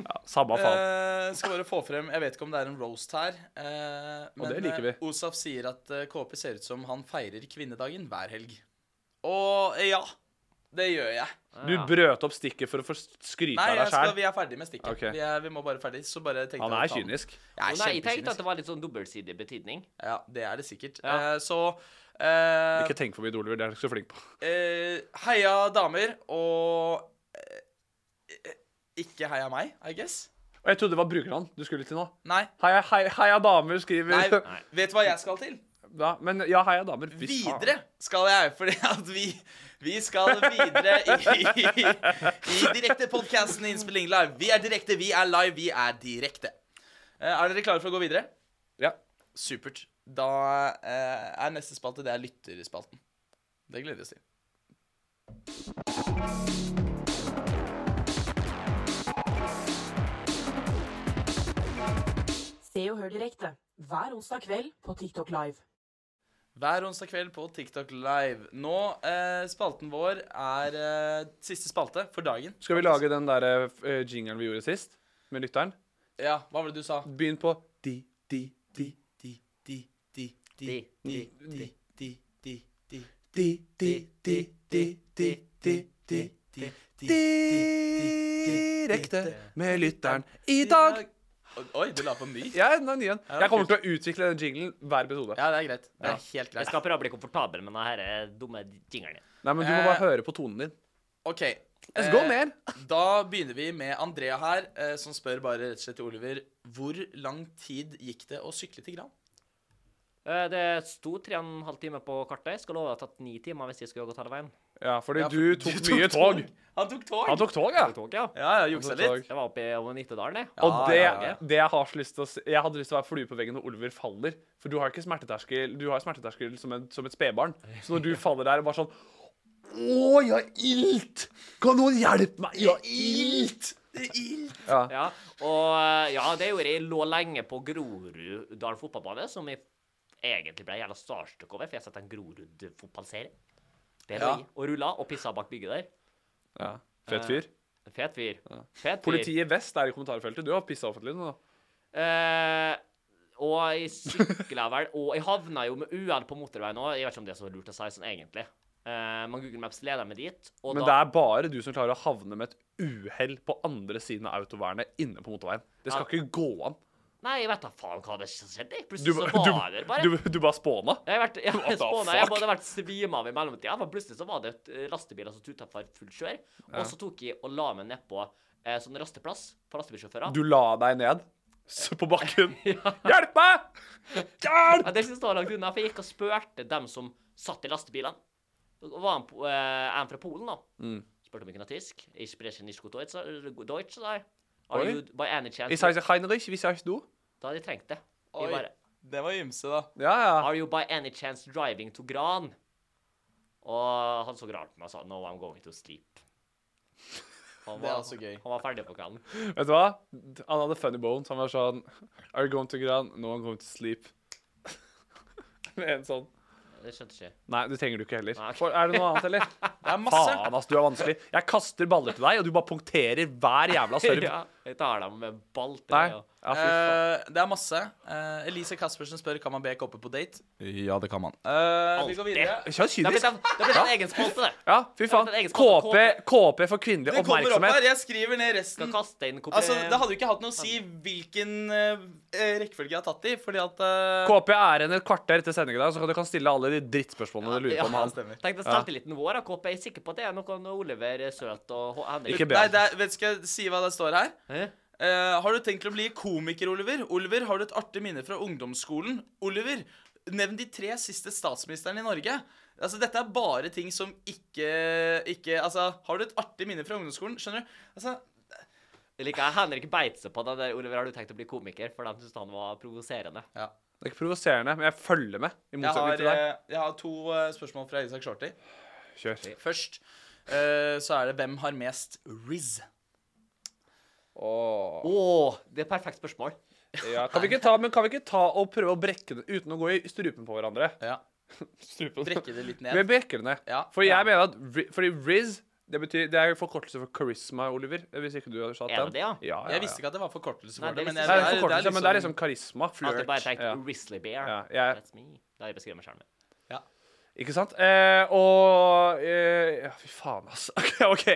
[SPEAKER 4] Ja, samme faen.
[SPEAKER 1] Eh, skal bare få frem Jeg vet ikke om det er en roast her. eh, men
[SPEAKER 4] det liker vi.
[SPEAKER 1] eh, Osaf sier at eh, KP ser ut som han feirer kvinnedagen hver helg. Og eh, ja, det gjør jeg.
[SPEAKER 4] Eh, Du brøt opp stikket for å få skryte
[SPEAKER 1] Nei, jeg
[SPEAKER 4] av deg
[SPEAKER 1] skal,
[SPEAKER 4] sjæl.
[SPEAKER 1] vi er ferdig med stikket.
[SPEAKER 4] Ok.
[SPEAKER 1] Vi, er, vi må bare ferdig. Så bare tenkte
[SPEAKER 4] Han
[SPEAKER 1] jeg å
[SPEAKER 4] er
[SPEAKER 1] ta den.
[SPEAKER 4] kynisk.
[SPEAKER 1] Jeg
[SPEAKER 3] Jo,
[SPEAKER 1] er
[SPEAKER 3] Nei, jeg tenkte at
[SPEAKER 1] kjempekynisk.
[SPEAKER 3] det var litt sånn dobbeltsidig betydning.
[SPEAKER 1] Ja, det er det sikkert.
[SPEAKER 3] Ja.
[SPEAKER 1] Eh, så eh,
[SPEAKER 4] Ikke tenk for mye, Oliver. Det er du ikke så flink på.
[SPEAKER 1] eh, Heia damer, og eh, eh, ikke heia meg, I guess.
[SPEAKER 4] Og jeg trodde det var brukernavn du skulle til nå.
[SPEAKER 1] Nei.
[SPEAKER 4] Heia, heia, heia damer, [laughs]
[SPEAKER 1] Nei,
[SPEAKER 4] skriver
[SPEAKER 1] Vet du hva jeg skal til?
[SPEAKER 4] ja, Men ja, heia damer. Fy faen.
[SPEAKER 1] Videre skal jeg, fordi at vi, vi skal videre i, i, i direktepodkasten Innspilling live. Vi er direkte, vi er live, vi er direkte. Eh, Er dere klare for å gå videre?
[SPEAKER 4] Ja.
[SPEAKER 1] Supert. Da eh, er neste spalte det er lytterspalten. Det gleder vi oss til.
[SPEAKER 2] Se og hør direkte hver onsdag kveld på TikTok Live.
[SPEAKER 1] Hver onsdag kveld på TikTok Live. Nå, eh, spalten vår er eh, siste spalte for dagen.
[SPEAKER 4] Skal vi lage den der eh, jingeren vi gjorde sist, med lytteren?
[SPEAKER 1] Ja, hva var det du sa?
[SPEAKER 4] Begynn på de, de, de,
[SPEAKER 1] De, de, de, de,
[SPEAKER 3] De,
[SPEAKER 1] de,
[SPEAKER 3] de,
[SPEAKER 1] de, de, de, de.
[SPEAKER 4] de, de, de, de, de, de, de. Direkte med lytteren i dag.
[SPEAKER 1] Oi, du la på ny?
[SPEAKER 4] Ja, den er ny igjen. Jeg kommer til å utvikle den jinglen hver episode.
[SPEAKER 1] Ja, det er greit. Det er helt
[SPEAKER 3] Jeg
[SPEAKER 1] greit.
[SPEAKER 3] skal prøve å bli komfortabel med denne eh, dumme jingeren. din.
[SPEAKER 4] Nei, men du må
[SPEAKER 1] Eh.
[SPEAKER 4] bare høre på tonen din.
[SPEAKER 1] OK.
[SPEAKER 4] Let's go
[SPEAKER 1] eh,
[SPEAKER 4] mer.
[SPEAKER 1] Da begynner vi med Andrea her, eh, som spør bare rett og slett til Oliver Hvor lang tid gikk det å sykle til Gran?
[SPEAKER 3] Eh, Det sto tre og en halv time på kartet. Jeg skal love at det har tatt ni timer hvis jeg skulle gått hele veien.
[SPEAKER 4] Ja, fordi
[SPEAKER 1] Ja, for-
[SPEAKER 4] du tok mye tog.
[SPEAKER 1] Han tok tog.
[SPEAKER 4] Han tok tog, ja.
[SPEAKER 3] Tok tog, ja.
[SPEAKER 1] Ja, ja, juksa
[SPEAKER 4] Han tok
[SPEAKER 1] litt.
[SPEAKER 4] tog.
[SPEAKER 3] Jeg var oppe i over Nittedalen, jeg.
[SPEAKER 4] Og
[SPEAKER 1] Ja,
[SPEAKER 4] det,
[SPEAKER 1] ja, ja.
[SPEAKER 4] det jeg har så lyst til å se Jeg hadde lyst til å være flue på veggen når Oliver faller. For du har ikke smerteterskel Du har smerteterskel som, en, som et spedbarn. Så når du faller der, bare sånn Å, jeg har ilt! Kan noen hjelpe meg? Jeg har ilt! Ja.
[SPEAKER 3] Ja, og eh, ja, det gjorde jeg. Jeg lå lenge på Groruddalen fotballbane, som jeg egentlig ble jævla starstruck over, for jeg har sett en Grorud-fotballserie. Det lå
[SPEAKER 1] Ja.
[SPEAKER 3] jeg. Og rulla og pissa bak bygget der.
[SPEAKER 4] ja. Fet fyr.
[SPEAKER 3] Fet fyr. Fet fyr.
[SPEAKER 4] Politiet Vest er i kommentarfeltet. Du har pissa offentlig nå. da.
[SPEAKER 3] Eh, og jeg sykla vel Og jeg havna jo med uhell på motorveien òg. Jeg vet ikke om det er så lurt å si sånn egentlig. Eh, men Google Maps leder meg dit. Og
[SPEAKER 4] Men det
[SPEAKER 3] da,
[SPEAKER 4] er bare du som klarer å havne med et uhell på andre siden av autovernet inne på motorveien. Det skal ikke gå an.
[SPEAKER 3] Nei, jeg vet da faen hva det skjedde. jeg.
[SPEAKER 4] Du,
[SPEAKER 3] Plutselig så
[SPEAKER 4] du,
[SPEAKER 3] var jeg der bare.
[SPEAKER 4] du, du bare spåna.
[SPEAKER 3] Jeg har vært jeg
[SPEAKER 4] What the
[SPEAKER 3] har spåna. Jeg
[SPEAKER 4] fuck?
[SPEAKER 3] hadde vært svima av i mellomtida. For plutselig så var det et eh, lastebiler som tuta for fullt kjør. Og så tok jeg og la meg nedpå eh, sånn rasteplass for lastebilsjåfører.
[SPEAKER 4] Du la deg ned s- på bakken. Hjelp meg! Hjelp!
[SPEAKER 3] Ja, det synes jeg var langt unna, for jeg gikk og spurte dem som satt i lastebilene. Og var en, po- eh, en fra Polen, da.
[SPEAKER 4] Mm.
[SPEAKER 3] Spurte om jeg kunne tysk. Ich spreche nicht gut Deutsch, sa- Deutsch, sa jeg. Are
[SPEAKER 4] Oi.
[SPEAKER 3] you by any chance
[SPEAKER 4] Ich heiße Heinrich, wie heißt du?
[SPEAKER 3] Da hadde jeg trengt det.
[SPEAKER 1] Oi.
[SPEAKER 3] Jeg bare
[SPEAKER 1] Det var ymse, da.
[SPEAKER 4] Ja, ja.
[SPEAKER 3] Are you by any chance driving to Gran? Og han så rart på meg og sa No, I'm going to sleep. Han
[SPEAKER 1] Det er også gøy.
[SPEAKER 3] Han var ferdig på kvelden.
[SPEAKER 4] Vet du hva? Han hadde funny bones. Han var sånn Are you going to Gran? No, I'm going to sleep. [laughs] Med en sånn.
[SPEAKER 3] Det skjønte ikke. jeg.
[SPEAKER 4] Nei, det trenger du ikke heller.
[SPEAKER 3] Nei, ok.
[SPEAKER 4] For, er det noe annet, [laughs] eller?
[SPEAKER 1] Det er masse.
[SPEAKER 4] Faen, altså. ass, du er vanskelig. Jeg kaster baller til deg, og du bare punkterer hver [laughs]
[SPEAKER 3] [laughs]
[SPEAKER 4] jævla serve.
[SPEAKER 3] Ja, jeg tar dem med balte.
[SPEAKER 4] Nei.
[SPEAKER 3] og-
[SPEAKER 4] Ja, fy faen.
[SPEAKER 1] Eh, det er masse. Eh, Elise Caspersen spør kan man be Koppe på date. Ja, det kan man. vi går videre.
[SPEAKER 4] Kjør
[SPEAKER 3] Det har blitt
[SPEAKER 4] kynisk.
[SPEAKER 3] en, det har blitt en egen spalte, det.
[SPEAKER 4] Ja, fy faen.
[SPEAKER 3] Det er et eget spørsmål.
[SPEAKER 4] KP, KP for
[SPEAKER 1] Det
[SPEAKER 4] kvinnelig
[SPEAKER 1] kommer opp her.
[SPEAKER 4] oppmerksomhet.
[SPEAKER 1] Jeg skriver ned resten.
[SPEAKER 3] Skal kaste inn kopi...
[SPEAKER 1] Altså, Det hadde jo ikke hatt noe å si hvilken eh, rekkefølge jeg har tatt det i, fordi at eh,
[SPEAKER 4] KP er igjen et kvarter etter sending i dag, så du kan stille alle de drittspørsmålene du lurer på om han.
[SPEAKER 1] stemmer.
[SPEAKER 3] Tenk deg selvtilliten vår, da, Kopp. Jeg er sikker på at det er noe når Oliver er søt og H- Henrik
[SPEAKER 4] Ikke be
[SPEAKER 1] Nei,
[SPEAKER 4] han.
[SPEAKER 1] det er, vet Skal jeg si hva det står her?
[SPEAKER 3] Hæ?
[SPEAKER 1] Eh, har du tenkt å bli komiker, Oliver? Oliver, har du et artig minne fra ungdomsskolen? Oliver, nevn de tre siste statsministrene i Norge. Altså, Dette er bare ting som ikke, ikke Altså, har du et artig minne fra ungdomsskolen? Skjønner du? Altså,
[SPEAKER 3] Jeg liker at Henrik beit seg på den der Oliver, har du tenkt å bli komiker? For de syntes han var provoserende.
[SPEAKER 4] Det er ikke provoserende, men jeg følger med. I
[SPEAKER 1] jeg
[SPEAKER 4] motsetning
[SPEAKER 1] har,
[SPEAKER 4] til deg.
[SPEAKER 1] eh, jeg har to eh, spørsmål fra Isak Shorty.
[SPEAKER 4] Kjør.
[SPEAKER 1] Først eh, så er det hvem har mest Riz?
[SPEAKER 4] Åh.
[SPEAKER 3] Å, det er et perfekt spørsmål.
[SPEAKER 4] Ja, kan, vi ikke ta, men kan vi ikke ta og prøve å brekke det uten å gå i strupen på hverandre?
[SPEAKER 1] Ja.
[SPEAKER 4] [laughs] Strupen.
[SPEAKER 1] Brekke det litt
[SPEAKER 4] Vi
[SPEAKER 1] ned.
[SPEAKER 4] brekker det ned.
[SPEAKER 1] Ja.
[SPEAKER 4] For jeg mener at Ri- Fordi Riz Det, betyr, det er jo forkortelse for charisma, Oliver. Hvis ikke du hadde satt
[SPEAKER 3] Er det
[SPEAKER 4] den.
[SPEAKER 3] det, ja?
[SPEAKER 4] Ja, ja,
[SPEAKER 1] Jeg
[SPEAKER 4] ja.
[SPEAKER 1] visste ikke at det var forkortelse for
[SPEAKER 3] Nei, det
[SPEAKER 1] det, sånn- men jeg,
[SPEAKER 3] visste
[SPEAKER 4] Det er
[SPEAKER 3] jeg
[SPEAKER 4] en
[SPEAKER 3] ikke.
[SPEAKER 4] forkortelse, men det er liksom karisma.
[SPEAKER 3] At jeg bare tenkte
[SPEAKER 4] Ja.
[SPEAKER 3] Risley Bear.
[SPEAKER 4] Ja, jeg-
[SPEAKER 3] That's me. Da beskriver jeg meg selv med.
[SPEAKER 4] liksom- Ikke sant? Eh, og eh, ja, Fy faen, altså. [laughs] OK.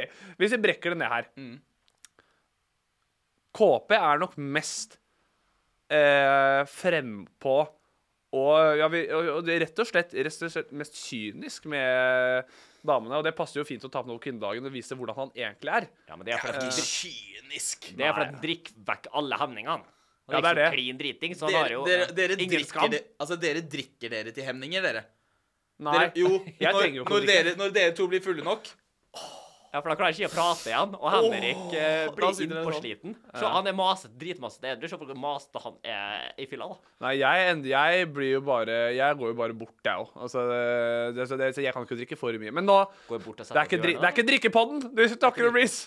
[SPEAKER 4] Hvis vi brekker det ned her
[SPEAKER 1] Mm.
[SPEAKER 4] KP er nok mest eh, frempå og, ja, vi, og, og det er rett og, slett, rett og slett mest kynisk med damene. Og det passer jo fint å ta med noe kvinnedagen og vise hvordan han egentlig er.
[SPEAKER 3] Ja, men det er for at de,
[SPEAKER 1] Kynisk.
[SPEAKER 3] det er for at de drikker vekk alle hemningene. Han
[SPEAKER 4] Ja, det er
[SPEAKER 3] så
[SPEAKER 4] det. eh,
[SPEAKER 3] klin driting, så han har
[SPEAKER 1] Dere,
[SPEAKER 3] jo
[SPEAKER 1] dere, dere,
[SPEAKER 3] ingen
[SPEAKER 1] drikker,
[SPEAKER 3] skam.
[SPEAKER 1] de, altså, dere drikker dere til hemninger, dere.
[SPEAKER 4] Nei.
[SPEAKER 1] dere jo,
[SPEAKER 4] [laughs] jeg
[SPEAKER 1] når,
[SPEAKER 4] trenger jo ikke å
[SPEAKER 1] når,
[SPEAKER 4] drikke.
[SPEAKER 1] dere, når dere to blir fulle nok
[SPEAKER 3] Ja, for da klarer jeg ikke å prate igjen, og Henrik eh,
[SPEAKER 1] da
[SPEAKER 3] blir
[SPEAKER 1] sitter det sånn.
[SPEAKER 3] innpåsliten. Så han er maset, dritmaset edru. Se hvor masete han er i fylla, da.
[SPEAKER 4] Nei, jeg, end- jeg blir jo bare Jeg går jo bare bort, jeg òg. Altså, det- det- så det- så jeg kan ikke drikke for mye. Men nå Det
[SPEAKER 3] Går bort og
[SPEAKER 4] er
[SPEAKER 3] setter
[SPEAKER 4] ikke, dri, det er
[SPEAKER 3] døren, da.
[SPEAKER 4] ikke drikkepodden! Du snakker om Reece.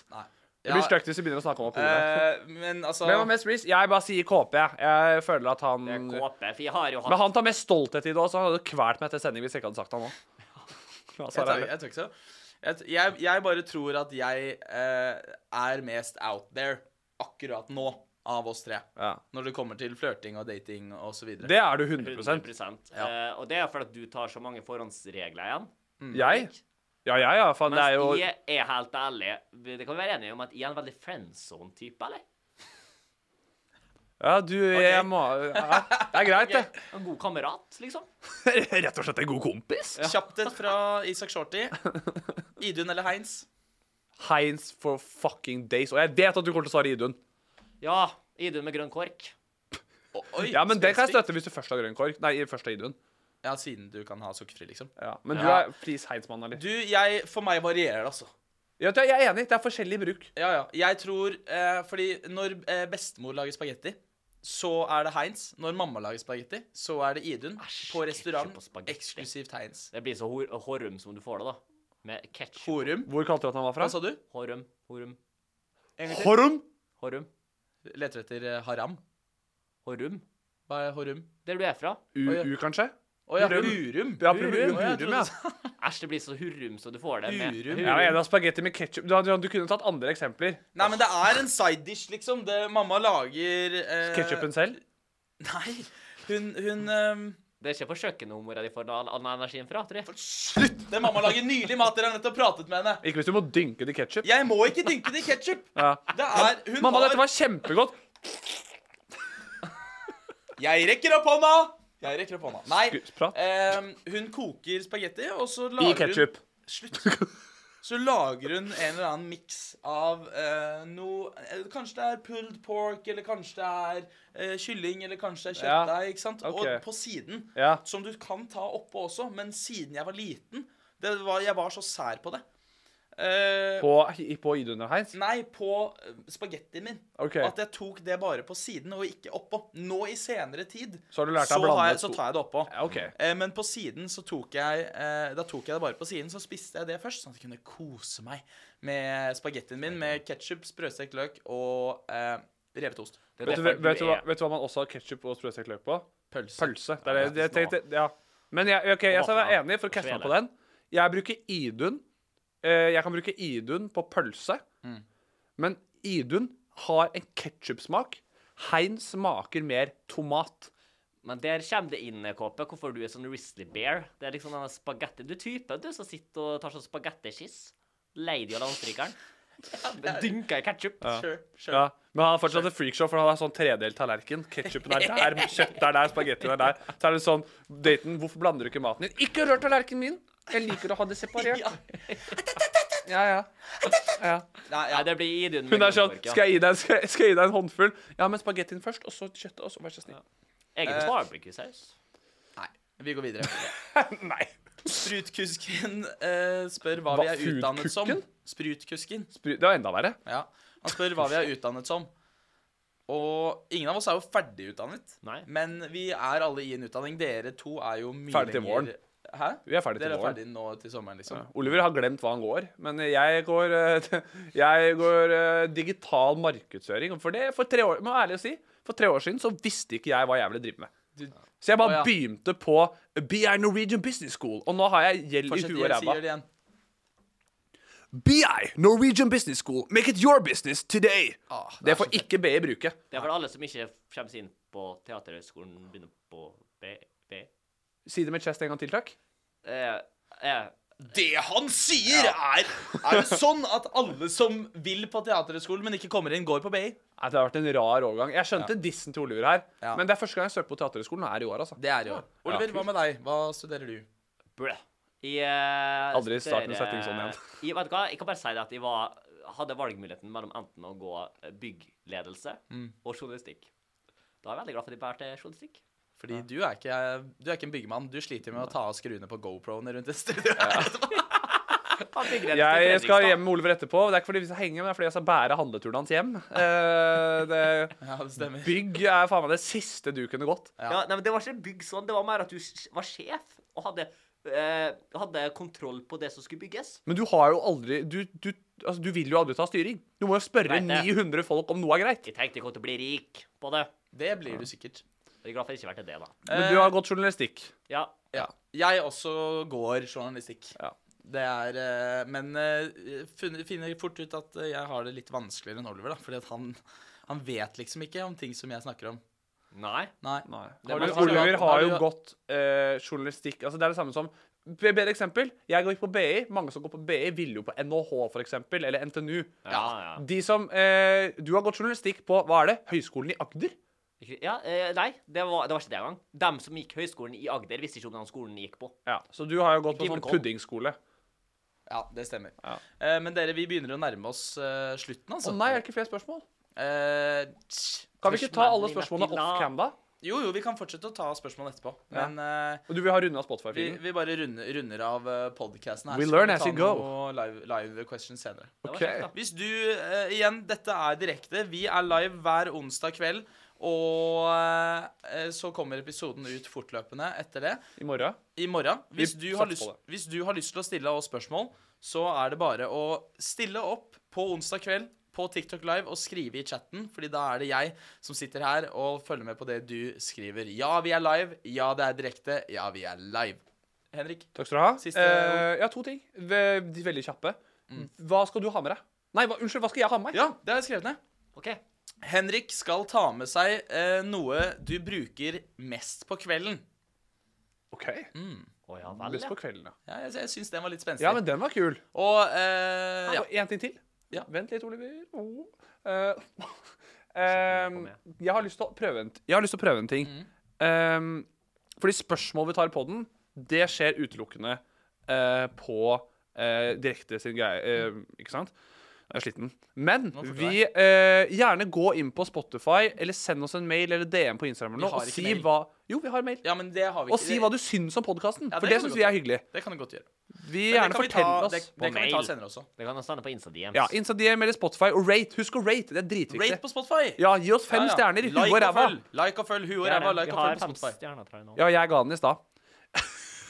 [SPEAKER 4] Det
[SPEAKER 1] Ja,
[SPEAKER 4] blir stygt hvis vi begynner å snakke om alkohol.
[SPEAKER 1] eh, Men altså
[SPEAKER 4] Hvem har mest Reece? Jeg bare sier KP. jeg. Jeg føler at han
[SPEAKER 3] Det er kåpe. For jeg har jo
[SPEAKER 4] sånn- Men
[SPEAKER 3] hatt
[SPEAKER 4] han tar mest stolthet i det også. Han hadde kvalt meg etter sending hvis jeg ikke hadde sagt det nå. Ja,
[SPEAKER 1] Jeg
[SPEAKER 4] så
[SPEAKER 1] tar,
[SPEAKER 4] er det ærlig.
[SPEAKER 1] jeg tar ikke så. Jeg, t- jeg, jeg bare tror at jeg eh, er mest out there akkurat nå av oss tre.
[SPEAKER 4] Ja.
[SPEAKER 1] Når det kommer til flørting og dating og så videre.
[SPEAKER 4] Det er du 100
[SPEAKER 3] 100 eh, Og det er fordi at du tar så mange forhåndsregler igjen.
[SPEAKER 4] Jeg? Ja, jeg, ja. Faen, det
[SPEAKER 3] Mens
[SPEAKER 4] er jo
[SPEAKER 3] jeg er helt ærlig Det kan vi være enige om at jeg er en veldig friendzone-type, eller?
[SPEAKER 4] Ja, du jeg må ja, Det er greit, det.
[SPEAKER 3] En god kamerat, liksom.
[SPEAKER 4] Rett og slett en god kompis.
[SPEAKER 1] Kjapt et fra Isak Shorty. Idun eller Heinz?
[SPEAKER 4] Heinz for fucking days. Og jeg vet at du kommer til å svare Idun.
[SPEAKER 3] Ja. Idun med grønn kork.
[SPEAKER 1] O- Oi,
[SPEAKER 4] Ja, men det kan jeg
[SPEAKER 1] spesifikt.
[SPEAKER 4] støtte hvis du først har grønn kork. Nei, først har Idun.
[SPEAKER 1] Ja, Siden du kan ha sukkerfri, liksom.
[SPEAKER 4] Ja. Men du
[SPEAKER 3] Ja.
[SPEAKER 4] er please Heinz-mann, eller?
[SPEAKER 1] Du, jeg, For meg varierer det, altså.
[SPEAKER 4] Ja, vet du, jeg er enig. Det er forskjellig bruk.
[SPEAKER 1] Ja, ja. Jeg tror eh, Fordi når eh, bestemor lager spagetti, så er det Heinz. Når mamma lager spagetti, så er det Idun.
[SPEAKER 3] Æsj,
[SPEAKER 1] På
[SPEAKER 3] ketchup og
[SPEAKER 1] restaurant.
[SPEAKER 3] spagetti.
[SPEAKER 1] Eksklusivt Heinz.
[SPEAKER 3] Det blir så hor horum som du får det, da. Med ketchup.
[SPEAKER 1] Horum.
[SPEAKER 4] Hvor kalte du at han var
[SPEAKER 1] Hva
[SPEAKER 4] fra?
[SPEAKER 1] sa du?
[SPEAKER 3] Horum, horum,
[SPEAKER 4] Horum!
[SPEAKER 3] horum.
[SPEAKER 1] Leter etter eh, haram.
[SPEAKER 3] Horum.
[SPEAKER 1] Hva er horum?
[SPEAKER 3] Der du er fra.
[SPEAKER 4] UU, kanskje?
[SPEAKER 1] Å ja,
[SPEAKER 4] Hurum.
[SPEAKER 1] hurum.
[SPEAKER 4] Ja,
[SPEAKER 1] Å,
[SPEAKER 4] Hurum,
[SPEAKER 1] jeg
[SPEAKER 4] Hurum,
[SPEAKER 1] trodde
[SPEAKER 4] ja.
[SPEAKER 1] du sa-
[SPEAKER 3] Æsj, det blir så hurrum som du får det. Med.
[SPEAKER 1] Hurum.
[SPEAKER 4] Ja, jeg er enig, spagetti med ketsjup. Du, du, du kunne tatt andre eksempler.
[SPEAKER 1] Nei, men det er en side dish, liksom. Det, mamma lager eh,
[SPEAKER 4] Ketsjupen selv?
[SPEAKER 1] Nei. Hun, hun eh,
[SPEAKER 3] Det er ikke på kjøkkenhumora de får all, all energien fra, tror jeg.
[SPEAKER 1] Slutt! Det mamma lager nylig mat. Dere har nettopp pratet med henne.
[SPEAKER 4] Ikke hvis du må dynke det i ketsjup.
[SPEAKER 1] Jeg må ikke dynke det i ketsjup.
[SPEAKER 4] Ja.
[SPEAKER 1] Det er Hun
[SPEAKER 4] Mamma,
[SPEAKER 1] har
[SPEAKER 4] dette var kjempegodt.
[SPEAKER 1] Jeg rekker opp hånda! Jeg rekker opp hånda. Nei.
[SPEAKER 4] Gud, Prat.
[SPEAKER 1] eh, hun koker spagetti, og så
[SPEAKER 4] I
[SPEAKER 1] lager hun
[SPEAKER 4] ketsjup.
[SPEAKER 1] Slutt. Så lager hun en eller annen miks av eh, noe eh, Kanskje det er pulled pork, eller kanskje det er eh, kylling, eller kanskje det er
[SPEAKER 4] Ja,
[SPEAKER 1] kjøttdeig. ikke sant?
[SPEAKER 4] ok.
[SPEAKER 1] Og på siden,
[SPEAKER 4] Ja.
[SPEAKER 1] som du kan ta oppå også, men siden jeg var liten det var, Jeg var så sær på det. Eh,
[SPEAKER 4] På, i- på Idun og Heinz?
[SPEAKER 1] Nei, på eh, spagettien min.
[SPEAKER 4] OK.
[SPEAKER 1] At jeg tok det bare på siden og ikke oppå. Nå i senere tid
[SPEAKER 4] Så har du lært
[SPEAKER 1] så,
[SPEAKER 4] deg å blande
[SPEAKER 1] har jeg, så
[SPEAKER 4] to-
[SPEAKER 1] tar jeg det oppå.
[SPEAKER 4] Ja, OK.
[SPEAKER 1] Eh, Men på siden så tok jeg eh, Da tok jeg det bare på siden, så spiste jeg det først, sånn at jeg kunne kose meg med spagettien min med ketsjup, sprøstekt løk og eh, revet ost.
[SPEAKER 3] Det er
[SPEAKER 4] Vet du,
[SPEAKER 3] derfor
[SPEAKER 4] vet, du hva,
[SPEAKER 3] er
[SPEAKER 4] vet du hva man også har ketsjup og sprøstekt løk på?
[SPEAKER 1] Pølse.
[SPEAKER 4] Pølse. Det er det,
[SPEAKER 3] det er
[SPEAKER 4] jeg tenkte. Ja. Men jeg, ok, jeg skal være enig, for å catche meg på den. Jeg bruker Idun. Eh, Jeg kan bruke Idun på pølse, men Idun har en ketsjupsmak. Heinz smaker mer tomat.
[SPEAKER 3] Men der kommer det inn, Kåpe, hvorfor du er sånn Risley Bear. Det er liksom denne spagetti... Du er typen, du, som sitter og tar sånn spagettiskiss. Lady av landstrykeren. Det dynker i ketsjup.
[SPEAKER 1] Sure, sure.
[SPEAKER 4] Ja, men han har fortsatt et freakshow, for han har sånn tredelt tallerken. Ketchupen er der, kjøttet er der, spagettien er der. Så er det sånn Dayton, hvorfor blander du ikke maten din? Ikke rør tallerkenen min! Jeg liker å ha det [laughs] separert. Ja, ja. ja.
[SPEAKER 1] Nei,
[SPEAKER 3] Nei,
[SPEAKER 1] ja.
[SPEAKER 3] det blir Idun
[SPEAKER 4] Hun er sånn
[SPEAKER 3] grønnkork,
[SPEAKER 4] skal jeg, gi deg, skal, jeg- skal jeg gi deg en håndfull? Ja, men spagettien først, og så kjøttet, og så vær så snill. Eh.
[SPEAKER 3] Egen barbecue-saus.
[SPEAKER 1] Nei. Vi går videre.
[SPEAKER 4] [laughs] Nei.
[SPEAKER 1] Sprutkusken eh, spør hva,
[SPEAKER 4] Hva,
[SPEAKER 1] vi er utdannet som.
[SPEAKER 4] foodkukken?
[SPEAKER 1] Sprutkusken.
[SPEAKER 4] Spry- Det var enda verre.
[SPEAKER 1] Ja. Han spør hva vi er utdannet som. Og ingen av oss er jo ferdigutdannet.
[SPEAKER 3] Nei.
[SPEAKER 1] Men vi er alle i en utdanning. Dere to er jo mye
[SPEAKER 4] Ferdig til
[SPEAKER 1] lenger-
[SPEAKER 4] våren.
[SPEAKER 1] Hæ?
[SPEAKER 4] Vi er ferdig til
[SPEAKER 1] Dere er
[SPEAKER 4] våren.
[SPEAKER 1] ferdig nå til sommeren, liksom.
[SPEAKER 4] Oliver har glemt hva han går, men jeg går, eh, [laughs] jeg går eh, digital markedsføring. og For det, for tre år, må jeg ærlig å si, for tre år siden så visste ikke jeg hva jeg ville drive med.
[SPEAKER 1] Du-
[SPEAKER 4] Så jeg bare
[SPEAKER 1] Å, ja.
[SPEAKER 4] begynte på BI Norwegian Business School, og nå har jeg gjeld i
[SPEAKER 1] Fortsett,
[SPEAKER 4] huet og
[SPEAKER 1] jeg sier
[SPEAKER 4] ræva.
[SPEAKER 1] det igjen.
[SPEAKER 4] BI, Norwegian Business School. Make it your business today. det får ikke B i bruket.
[SPEAKER 3] Det er for alle som ikke kommer seg inn på Teaterhøgskolen, begynner på B... B.
[SPEAKER 4] Si det med chest en gang til, takk.
[SPEAKER 3] Eh, eh,
[SPEAKER 1] Det han sier, er Er det sånn at alle som vil på Teaterhøgskolen, men ikke kommer inn, går på BI?
[SPEAKER 4] Nei, Det har vært en rar overgang. Jeg skjønte dissen til Oliver her,
[SPEAKER 1] Ja.
[SPEAKER 4] men det er første gang jeg søker på Teaterhøgskolen. og er i år, altså.
[SPEAKER 8] Det er jo
[SPEAKER 1] Oliver, hva med deg? Hva studerer du?
[SPEAKER 3] blø. Jeg,
[SPEAKER 4] Aldri start en setning sånn igjen.
[SPEAKER 3] Jeg, eh, vet du hva? jeg kan bare si det at jeg var, hadde valgmuligheten mellom enten å gå eh, byggledelse
[SPEAKER 4] Mm.
[SPEAKER 3] og journalistikk. Da er jeg veldig glad for at jeg bærte journalistikk.
[SPEAKER 1] Fordi du er ikke, du er ikke en byggemann. Du sliter med å ta av skruene på GoPro-ene rundt et studio.
[SPEAKER 3] Ta byggledelse til
[SPEAKER 4] Jeg skal
[SPEAKER 3] Fredrikstad.
[SPEAKER 4] hjem med Oliver etterpå. Det er ikke fordi vi skal henge, men det er fordi jeg skal bære handleturen hans hjem. Eh, det,
[SPEAKER 1] [laughs] Ja, det stemmer.
[SPEAKER 4] bygg er faen meg det siste du kunne gått.
[SPEAKER 1] Ja.
[SPEAKER 3] Ja, nei, men Det var ikke bygg sånn, det var mer at du s- var sjef og hadde, eh, hadde kontroll på det som skulle bygges.
[SPEAKER 4] Men du har jo aldri Du, du, altså, du vil jo aldri ta styring. Du må jo spørre
[SPEAKER 3] Nei, det-
[SPEAKER 4] 900 folk om noe er greit.
[SPEAKER 3] Jeg tenkte jeg kom til å bli rik på det.
[SPEAKER 1] Det blir du sikkert.
[SPEAKER 3] Jeg er glad for jeg ikke ble det, da.
[SPEAKER 1] Eh,
[SPEAKER 4] Men du har gått journalistikk.
[SPEAKER 3] Ja,
[SPEAKER 1] Ja. Jeg også går journalistikk.
[SPEAKER 4] Ja.
[SPEAKER 1] Det er, eh, men eh, funner- finner fort ut at eh, jeg har det litt vanskeligere enn Oliver. da, fordi at han, han vet liksom ikke om ting som jeg snakker om.
[SPEAKER 3] Nei.
[SPEAKER 1] Nei.
[SPEAKER 4] Nei.
[SPEAKER 1] Har
[SPEAKER 4] Men
[SPEAKER 1] du-
[SPEAKER 4] Oliver
[SPEAKER 1] du-
[SPEAKER 4] har
[SPEAKER 1] du-
[SPEAKER 4] jo gått eh, journalistikk altså Det er det samme som Bedre eksempel. Jeg går ikke på BI. Mange som går på BI, ville jo på NHH, for eksempel, eller NTNU.
[SPEAKER 3] Ja, ja.
[SPEAKER 4] De som eh, Du har gått journalistikk på Hva er det? Høgskolen i Agder?
[SPEAKER 3] Ikke- ja eh, nei, det var, det var ikke det engang. Dem som gikk høyskolen i Agder, visste ikke om den skolen de gikk på.
[SPEAKER 4] Ja. Så du har jo gått på sånn
[SPEAKER 3] Gimmelkollen.
[SPEAKER 4] puddingskole. Å
[SPEAKER 1] Ja, det stemmer.
[SPEAKER 4] Ja.
[SPEAKER 1] Eh, men dere, vi begynner å nærme oss eh, slutten, altså.
[SPEAKER 4] nei, er det ikke flere spørsmål?
[SPEAKER 1] Eh, tsk.
[SPEAKER 4] Kan vi ikke ta alle spørsmålene
[SPEAKER 3] Spørsmålene
[SPEAKER 4] off cam, da?
[SPEAKER 1] jo, jo, vi kan fortsette å ta spørsmål etterpå.
[SPEAKER 4] Ja.
[SPEAKER 1] Men eh,
[SPEAKER 4] Og du vil ha runda
[SPEAKER 1] vi,
[SPEAKER 4] Spotify-filen?
[SPEAKER 1] vi bare runder, runder av eh, podcasten her.
[SPEAKER 4] We
[SPEAKER 1] så kan
[SPEAKER 4] learn
[SPEAKER 1] vi
[SPEAKER 4] as
[SPEAKER 1] ta
[SPEAKER 4] you go.
[SPEAKER 1] noe Live, live questions senere.
[SPEAKER 3] Det var
[SPEAKER 4] Ok.
[SPEAKER 3] kjekt, da.
[SPEAKER 1] Hvis du eh, Igjen, dette er direkte. Vi er live hver onsdag kveld. Og eh, så kommer episoden ut fortløpende etter det.
[SPEAKER 4] I morgen?
[SPEAKER 1] I morgen. Hvis
[SPEAKER 4] Vi
[SPEAKER 1] du, har
[SPEAKER 4] satser
[SPEAKER 1] lyst,
[SPEAKER 4] på det.
[SPEAKER 1] hvis du har lyst til å stille oss spørsmål, så er det bare å stille opp på onsdag kveld på TikTok Live og skrive i chatten, Fordi da er det jeg som sitter her og følger med på det du skriver. Ja, vi er live. Ja, det er direkte. Ja, vi er live. Henrik?
[SPEAKER 4] Takk skal du ha.
[SPEAKER 1] Siste
[SPEAKER 4] eh, ja, to ting. Ve- de er Veldig kjappe. Hva skal du ha med deg? Nei, hva, unnskyld, hva skal jeg ha med meg?
[SPEAKER 1] Ja, det har jeg skrevet ned.
[SPEAKER 3] OK.
[SPEAKER 1] Henrik skal ta med seg eh, noe du bruker mest på kvelden.
[SPEAKER 4] OK.
[SPEAKER 3] Å ja vel,
[SPEAKER 4] Best
[SPEAKER 3] ja.
[SPEAKER 4] på kvelden, ja.
[SPEAKER 1] Ja, jeg, jeg syns den var litt spenstig.
[SPEAKER 4] Ja, men den var kul.
[SPEAKER 1] Og eh, ja.
[SPEAKER 4] Og en ting til.
[SPEAKER 1] Ja.
[SPEAKER 4] Vent litt, Oliver. Åh. Eh, ehm,
[SPEAKER 3] jeg
[SPEAKER 4] jeg har lyst til å prøve en, jeg har lyst til å prøve en ting.
[SPEAKER 1] Mm.
[SPEAKER 4] Ehm, fordi spørsmål vi tar på den, det skjer utelukkende eh, på eh, direkte sin greie. eh, ikke sant? Jeg er sliten. Men
[SPEAKER 1] forstår
[SPEAKER 4] vi eh, gjerne gå inn på Spotify, eller send oss en mail eller DM på Instagram
[SPEAKER 1] Vi
[SPEAKER 4] eller noe,
[SPEAKER 1] har
[SPEAKER 4] og
[SPEAKER 1] ikke
[SPEAKER 4] si
[SPEAKER 1] mail.
[SPEAKER 4] hva Jo, vi har mail.
[SPEAKER 1] ja, men det har vi
[SPEAKER 4] Og
[SPEAKER 1] ikke.
[SPEAKER 4] si hva du syns om podkasten,
[SPEAKER 1] Ja,
[SPEAKER 4] for
[SPEAKER 1] det
[SPEAKER 4] det
[SPEAKER 1] kan
[SPEAKER 4] syns
[SPEAKER 1] vi
[SPEAKER 4] vi
[SPEAKER 1] godt
[SPEAKER 4] er hyggelig.
[SPEAKER 1] Det kan du godt gjøre.
[SPEAKER 4] Vi
[SPEAKER 1] Men det kan vi
[SPEAKER 4] gjerne
[SPEAKER 1] ta-
[SPEAKER 4] fortell
[SPEAKER 1] Det,
[SPEAKER 4] oss.
[SPEAKER 1] det kan vi ta
[SPEAKER 3] mail.
[SPEAKER 1] senere også.
[SPEAKER 3] Det kan stå på Insta DMs.
[SPEAKER 4] Ja, Insta DM eller Spotify. Og rate. Husk å rate. Det er dritviktig.
[SPEAKER 1] Rate på Spotify.
[SPEAKER 4] Ja, gi oss fem
[SPEAKER 1] Ja, ja.
[SPEAKER 4] stjerner i huet og
[SPEAKER 1] Like
[SPEAKER 4] ræva.
[SPEAKER 1] følg. Like og følg huet og
[SPEAKER 3] Vi har
[SPEAKER 1] ræva.
[SPEAKER 3] det.
[SPEAKER 1] Like
[SPEAKER 3] Vi
[SPEAKER 1] og
[SPEAKER 3] har
[SPEAKER 1] følg på
[SPEAKER 3] fem
[SPEAKER 1] Spotify.
[SPEAKER 3] stjerner, tror jeg, nå.
[SPEAKER 4] Ja, jeg ga den i stad.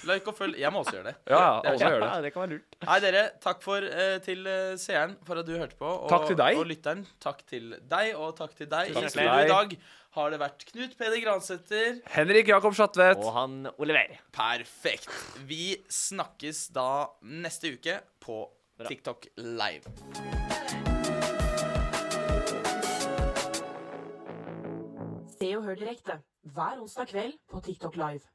[SPEAKER 1] Like og følg. Jeg må også gjøre det.
[SPEAKER 4] Ja,
[SPEAKER 1] Det er
[SPEAKER 4] alle gjør det.
[SPEAKER 3] Ja, det kan være lurt.
[SPEAKER 1] Nei, dere, takk for, eh, til eh, seeren for at du hørte på. Og,
[SPEAKER 4] Takk til deg.
[SPEAKER 1] Og lytteren. Takk til deg, og takk til deg.
[SPEAKER 3] Takk
[SPEAKER 1] I
[SPEAKER 3] til
[SPEAKER 1] studio i
[SPEAKER 4] deg.
[SPEAKER 1] dag har det vært Knut Peder Gransæter.
[SPEAKER 4] Henrik Jakob Schatvedt.
[SPEAKER 3] Og han Oliver.
[SPEAKER 1] Perfekt. Vi snakkes da neste uke på TikTok Live.
[SPEAKER 2] Se og hør direkte hver onsdag kveld på TikTok Live.